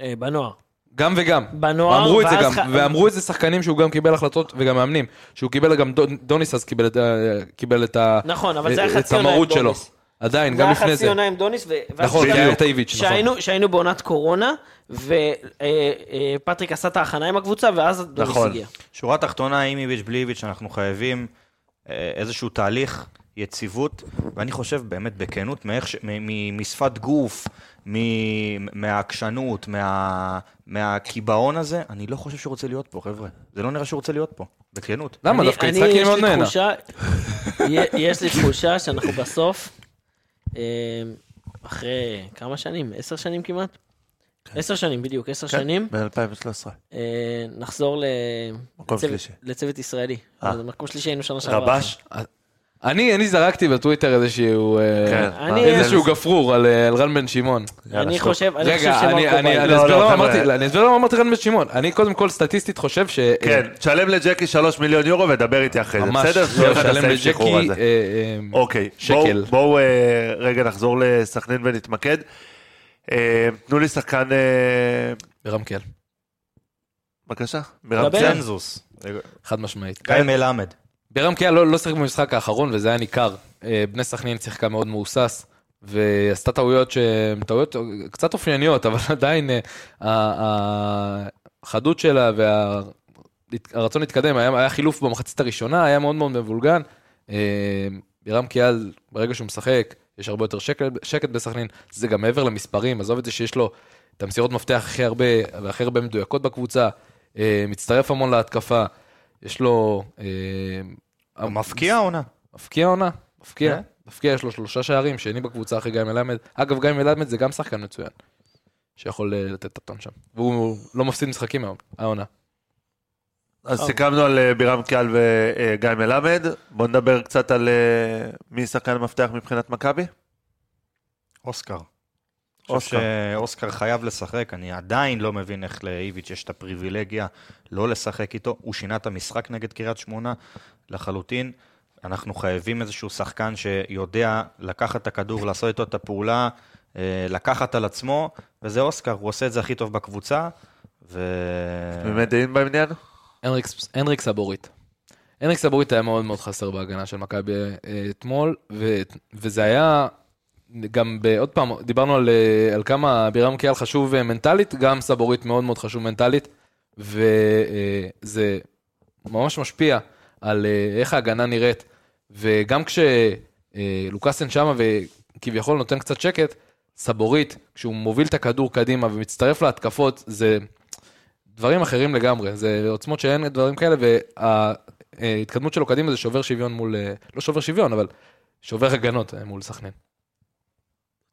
S5: אה, בנוער.
S6: גם וגם.
S5: בנוער,
S6: אמרו את זה
S5: ואז
S6: גם,
S5: ח-
S6: ואמרו את זה שחקנים שהוא גם קיבל החלטות וגם מאמנים. שהוא קיבל גם, דון- דוניס אז קיבל את ה- קיבל את ה- אה,
S5: נכון, אבל זה היה
S6: את
S5: חצי עונה עם
S6: המרות שלו.
S5: דוניס.
S6: עדיין,
S5: זה
S6: גם
S5: היה
S6: לפני
S5: חצי
S6: זה.
S5: עונה עם דוניס, ו... ואז
S6: נכון,
S5: גם-
S6: כי היה את האיביץ', נכון.
S5: שהיינו, שהיינו בעונת קורונה, ופטריק עשה את ההכנה עם הקבוצה, ואז דוניס
S1: נכון.
S5: הגיע.
S7: שורה תחתונה, עם איביץ' בלי איביץ', אנחנו חייבים אה, איזשהו תהליך יציבות, ואני חושב באמת בכנות, מאיך ש... מ- מ- משפת גוף, מ... מהעקשנות, מה... מהקיבעון הזה, אני לא חושב שהוא רוצה להיות פה, חבר'ה. זה לא נראה שהוא רוצה להיות פה, בכנות.
S6: למה?
S5: אני-
S6: דווקא
S5: אני-
S6: יצחקי
S5: יש
S6: מאוד
S5: לי
S6: נהנה.
S5: תחושה- יה- יש לי תחושה שאנחנו בסוף, אה, אחרי כמה שנים? עשר שנים כמעט? עשר שנים, בדיוק, עשר שנים.
S1: כן, מ-2013.
S5: אה, נחזור ל-
S1: מקום
S5: לצוות-
S1: שלישי.
S5: לצוות ישראלי.
S1: אה.
S5: אז מקום שלישי היינו שנה שעברה.
S1: רבש?
S6: אה, אני אני זרקתי בטוויטר איזשהו... אה,
S1: כן.
S5: אני-
S6: איזשהו גפרור על אה, על רן בן שמעון.
S1: יאללה,
S5: אני
S1: שטוף.
S5: חושב, אני חושב
S6: רגע, אני-
S5: שמרקו
S6: אני
S5: בא-
S6: אני
S1: לא, לא,
S6: אסביר
S1: חבר'ה.
S6: למה אמרתי- אני אסביר למה אמרתי רן בן שמעון. אני קודם כל סטטיסטית חושב ש... אה,
S1: כן, תשלם לג'קי 3 מיליון יורו ודבר איתי אחרי זה,
S6: ממש,
S1: בסדר?
S6: לא
S1: שלח את
S6: לשלם
S1: הסעיף שחרור
S6: לג'קי.
S1: הזה.
S6: אה, אה,
S1: אוקיי,
S6: שקל.
S1: בואו בוא, אה, רגע נחזור לסכנין ונתמקד. אה, תנו לי שחקן, אה,
S6: ברמקל,
S1: בבקשה,
S5: דבר.
S1: מרמצן.
S7: צנזוס.
S6: חד משמעית.
S7: גיא
S1: כן.
S7: מלמד.
S6: ברמקיה לא, לא שיחק במשחק האחרון, וזה היה ניכר. אה, בני סכנין שיחקה מאוד מהוסס, ועשתה טעויות שהן טעויות קצת אופייניות, אבל עדיין אה, ה- החדות שלה והרצון להתקדם, היה, היה חילוף במחצית הראשונה, היה מאוד מאוד מבולגן. אה, בירם קיאל, ברגע שהוא משחק, יש הרבה יותר שקט, שקט בסכנין, זה גם מעבר למספרים, עזוב את זה שיש לו את המסירות מפתח הכי הרבה, והכי הרבה מדויקות בקבוצה, אה, מצטרף המון להתקפה, יש לו... אה,
S7: מפקיע עונה.
S6: מפקיע עונה, מפקיע.
S7: כן.
S6: מפקיע, יש לו שלושה שערים, שני בקבוצה אחרי גיא מלמד. אגב, גיא מלמד זה גם שחקן מצוין, שיכול אה, לתת את הטון שם. והוא לא מפסיד משחקים היום, העונה.
S1: אז סיכמנו על אה, בירם קיאל וגיא מלמד. בואו נדבר קצת על אה, מי שחקן המפתח מבחינת מכבי.
S7: אוסקר. אני חושב
S1: אוסקר.
S7: שאוסקר חייב לשחק, אני עדיין לא מבין איך לאיביץ' יש את הפריבילגיה לא לשחק איתו. הוא שינה את המשחק נגד קריית שמונה לחלוטין. אנחנו חייבים איזשהו שחקן שיודע לקחת את הכדור, לעשות איתו את הפעולה, אה, לקחת על עצמו, וזה אוסקר, הוא עושה את זה הכי טוב בקבוצה. ו...
S1: באמת דעים בעניין?
S6: הנריקס- הנריק סבורית. הנריק סבורית היה מאוד מאוד חסר בהגנה של מכבי אה, אתמול, ו- וזה היה גם, ב- עוד פעם, דיברנו על, אה, על כמה בירם קיאל חשוב אה, מנטלית, גם סבורית מאוד מאוד חשוב מנטלית, וזה ממש משפיע על אה, איך ההגנה נראית. וגם כשלוקאסן שמה וכביכול נותן קצת שקט, סבורית, כשהוא מוביל את הכדור קדימה ומצטרף להתקפות, זה דברים אחרים לגמרי, זה עוצמות שאין דברים כאלה, וההתקדמות שלו קדימה זה שובר שוויון מול, אה, לא שובר שוויון, אבל שובר הגנות אה, מול סכנין.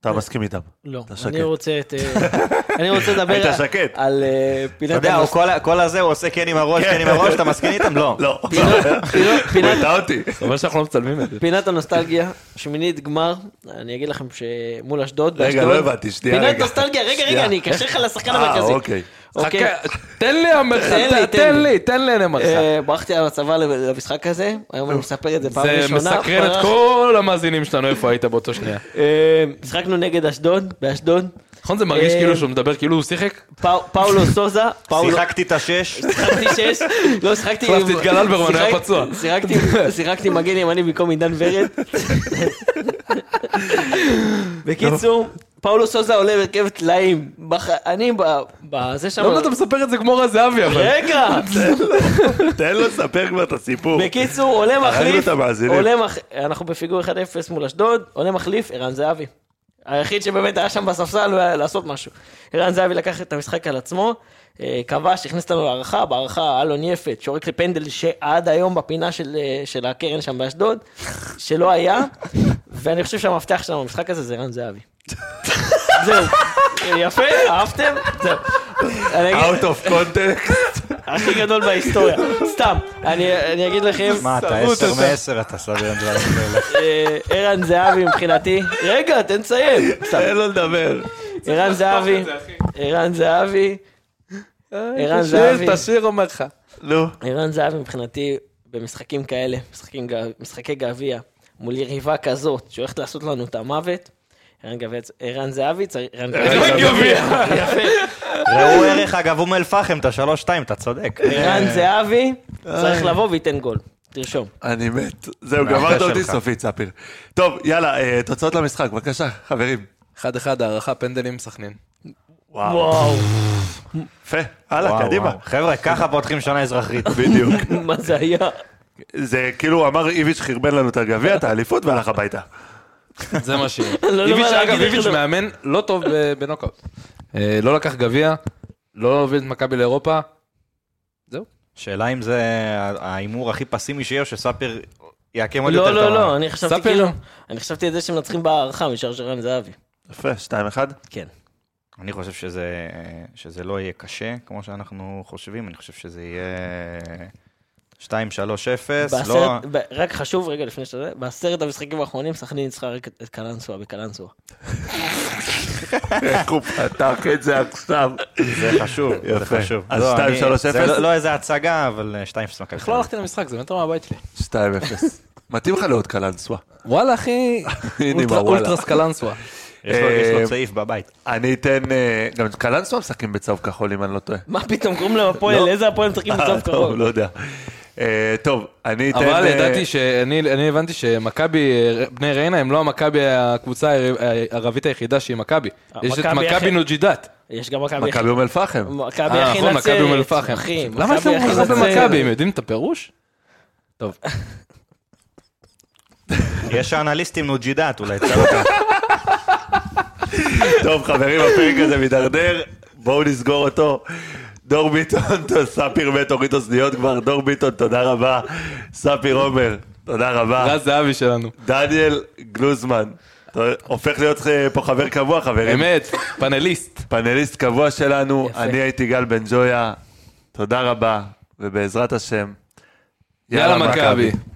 S1: אתה מסכים איתם.
S5: לא,
S1: אתה שקט.
S5: אני רוצה את... אה, אני רוצה לדבר
S1: היית
S5: על-
S1: שקט.
S5: על אה,
S7: אתה
S5: פינת
S7: יודע, הוא
S5: המס-
S7: כל, ה- כל הזה הוא עושה כן עם הראש, כן עם הראש, אתה מסכים איתם? לא.
S1: לא,
S5: פינות-
S1: הוא
S5: פינת-
S1: הטעה אותי.
S6: אבל שאנחנו לא מצלמים את זה.
S5: פינת הנוסטלגיה, שמינית גמר, אני אגיד לכם שמול אשדוד,
S1: רגע,
S5: באשדוד.
S1: לא הבנתי, שנייה רגע.
S5: פינת נוסטלגיה, רגע, רגע,
S1: שנייה.
S5: אני אקשר לך לשחקן
S1: אה,
S5: המרכזי.
S1: אוקיי.
S5: אוקיי.
S6: חכה, תן לי המרחב,
S5: תן לי, תן
S6: תן
S5: לי.
S6: לי, תן לי המרחב.
S5: אה, ברחתי על הצבא למשחק הזה, היום אני מספר את זה פעם
S6: זה
S5: ראשונה.
S6: מסקרן את
S5: ברח-
S6: כל המאזינים שלנו, איפה היית באותו שנייה.
S5: אה, משחקנו נגד אשדוד, באשדוד.
S6: נכון זה מרגיש
S5: אה,
S6: כאילו שהוא מדבר כאילו הוא שיחק?
S5: פאו- פאולו סוזה, פאולו...
S7: שיחקתי את השש,
S5: שיחקתי שש, לא שיחקתי...
S6: החלפתי את גל אלברמן, היה
S5: שיחק-
S6: פצוע.
S5: שיחקתי- שיחקתי מגן ימני במקום עידן ורד. בקיצור, פאולו סוזה עולה בהרכב טלאים. בח- אני ב- בזה שם...
S6: למה לא, אתה מספר את זה כמו רז זהבי אבל?
S5: רגע!
S1: תן לו לספר כבר את הסיפור.
S5: בקיצור, עולה
S1: הרגנו
S5: מחליף,
S1: את המאזינים.
S5: עולה מח... אנחנו בפיגור 1-0 מול אשדוד, עולה מחליף, ערן זהבי. היחיד שבאמת היה שם בספסל והיה לעשות משהו. ערן זהבי לקח את המשחק על עצמו, אה, כבש, הכניס אותנו להערכה, בהערכה אלון יפת, שורק לפנדל שעד היום בפינה של, אה, של הקרן שם באשדוד, שלא היה, ואני חושב שהמפתח שלנו במשחק הזה זה ערן זהבי. זהו. יפה, אהבתם? זהו. אני אגיד-
S1: Out of context.
S5: הכי גדול בהיסטוריה. סתם, אני אני אגיד לכם...
S7: מה אתה עשר מעשר, אתה סביר דברים כאלה.
S5: אה, ערן זהבי מבחינתי, רגע, תן לסיים. סתם.
S1: תן לו לדבר.
S5: ערן זהבי, ערן זהבי,
S1: אה,
S5: ערן זהבי,
S6: שיר, תשיר אומר לך.
S1: נו.
S5: ערן זהבי מבחינתי במשחקים כאלה, משחקים גב- משחקי גביע, מול יריבה כזאת שהולכת לעשות לנו את המוות. ערן גביע- ערן זהבי צריך... ערן
S6: גביע.
S7: ראו ערך, אגב, אום אל-פחם, אתה שלוש-שתיים, אתה צודק.
S5: ערן
S1: אה.
S5: זהבי צריך לבוא וייתן גול. תרשום.
S1: אני מת. זהו,
S7: מהפה
S1: גמרת אותי
S7: שלך.
S1: סופית, ספיר. טוב, יאללה, אה, תוצאות למשחק, בבקשה, חברים.
S6: אחד אחד הערכה פנדלים סכנין.
S1: וואו.
S5: וואו,
S1: יפה, הלאה,
S7: וואו,
S1: קדימה.
S7: וואו. חבר'ה, ככה פותחים שנה אזרחית.
S1: בדיוק.
S5: מה זה היה?
S1: זה כאילו, אמר איביץ' חרבן לנו את הגביע, את האליפות, והלך הביתה.
S6: זה מה שיהיה.
S5: לא יודע מה
S6: איביץ',
S5: להגיד,
S6: אגב, איביץ'
S5: כאילו.
S6: מאמן לא טוב ב- בנוקאוט. אה, לא לקח גביע, לא הוביל את מכבי לאירופה.
S7: שאלה אם זה ההימור הכי פסימי שיהיה, או שספיר יעקם עוד יותר
S5: לא, לא,
S7: את הרמה.
S5: לא, אני חשבתי
S6: ספיר.
S5: כאילו, אני חשבתי את זה שמנצחים בהערכה משער של רן זהבי.
S1: יפה, 2-1.
S5: כן.
S7: אני חושב שזה, שזה לא יהיה קשה, כמו שאנחנו חושבים, אני חושב שזה יהיה 2-3-0, לא...
S5: בעשרת- ב- רק חשוב, רגע לפני שזה, בעשרת המשחקים האחרונים סכנין ניצחה רק את- את קלנסווה בקלנסווה.
S1: איך הוא פתח את זה עכשיו?
S7: זה חשוב, זה
S1: יפה.
S7: חשוב.
S1: אז
S7: לא, אני-
S1: 2-3-0?
S7: זה לא- לא איזה הצגה, אבל אה, 2-0 מכבי.
S6: איך לא הלכתי למשחק? זה מטר מהבית שלי.
S1: 2-0. מתאים לך לעוד קלנסווה.
S6: וואלה, אחי,
S1: הנה,
S6: אולטרה-
S1: מה, וואלה.
S6: אולטרס קלנסווה.
S7: יש לו- יש
S1: אה,
S7: לו צעיף בבית.
S1: אני אתן... אה, גם קלנסווה משחקים בצהוב כחול, אם אני לא טועה.
S5: מה פתאום קוראים להם
S6: לא.
S5: הפועל? איזה הפועל משחקים בסוף
S1: טוב,
S5: קרוב?
S1: לא יודע. אה, טוב, אני אתן...
S6: אבל
S1: אה,
S6: ידעתי שאני אני הבנתי שמכבי, אה, בני ריינה הם לא המכבי, הקבוצה הערבית היחידה שהיא מכבי. יש את
S5: אה, מכבי
S6: מכבי
S5: הכי-
S6: נוג'ידאת.
S5: יש גם מכבי
S1: מכבי
S5: הכי-
S1: אום אל-פחם.
S5: מכבי
S6: אה,
S5: הכי
S6: נכון,
S5: נצרת.
S6: מכבי אום אל-פחם.
S5: אחי,
S6: למה יש להם
S5: מכבי
S6: כל כך
S5: הכי
S6: הרבה
S5: נצרת.
S6: מכבי? הם יודעים את הפירוש? טוב,
S7: יש אנליסטים נוג'ידאת, אולי תשאל אותם.
S1: טוב, חברים, הפרק הזה מידרדר, בואו נסגור אותו. דור ביטון, ספיר מת, הוריד אוזניות כבר, דור ביטון, תודה רבה. ספיר עומר, תודה
S5: אה.
S1: רבה.
S6: רז זהבי שלנו.
S1: דניאל גלוזמן, אתה הופך להיות אה, פה חבר קבוע, חברים.
S6: אמת, פאנליסט.
S1: פאנליסט קבוע שלנו, אני הייתי גל בן ג'ויה, תודה רבה, ובעזרת השם,
S6: יאללה מכבי.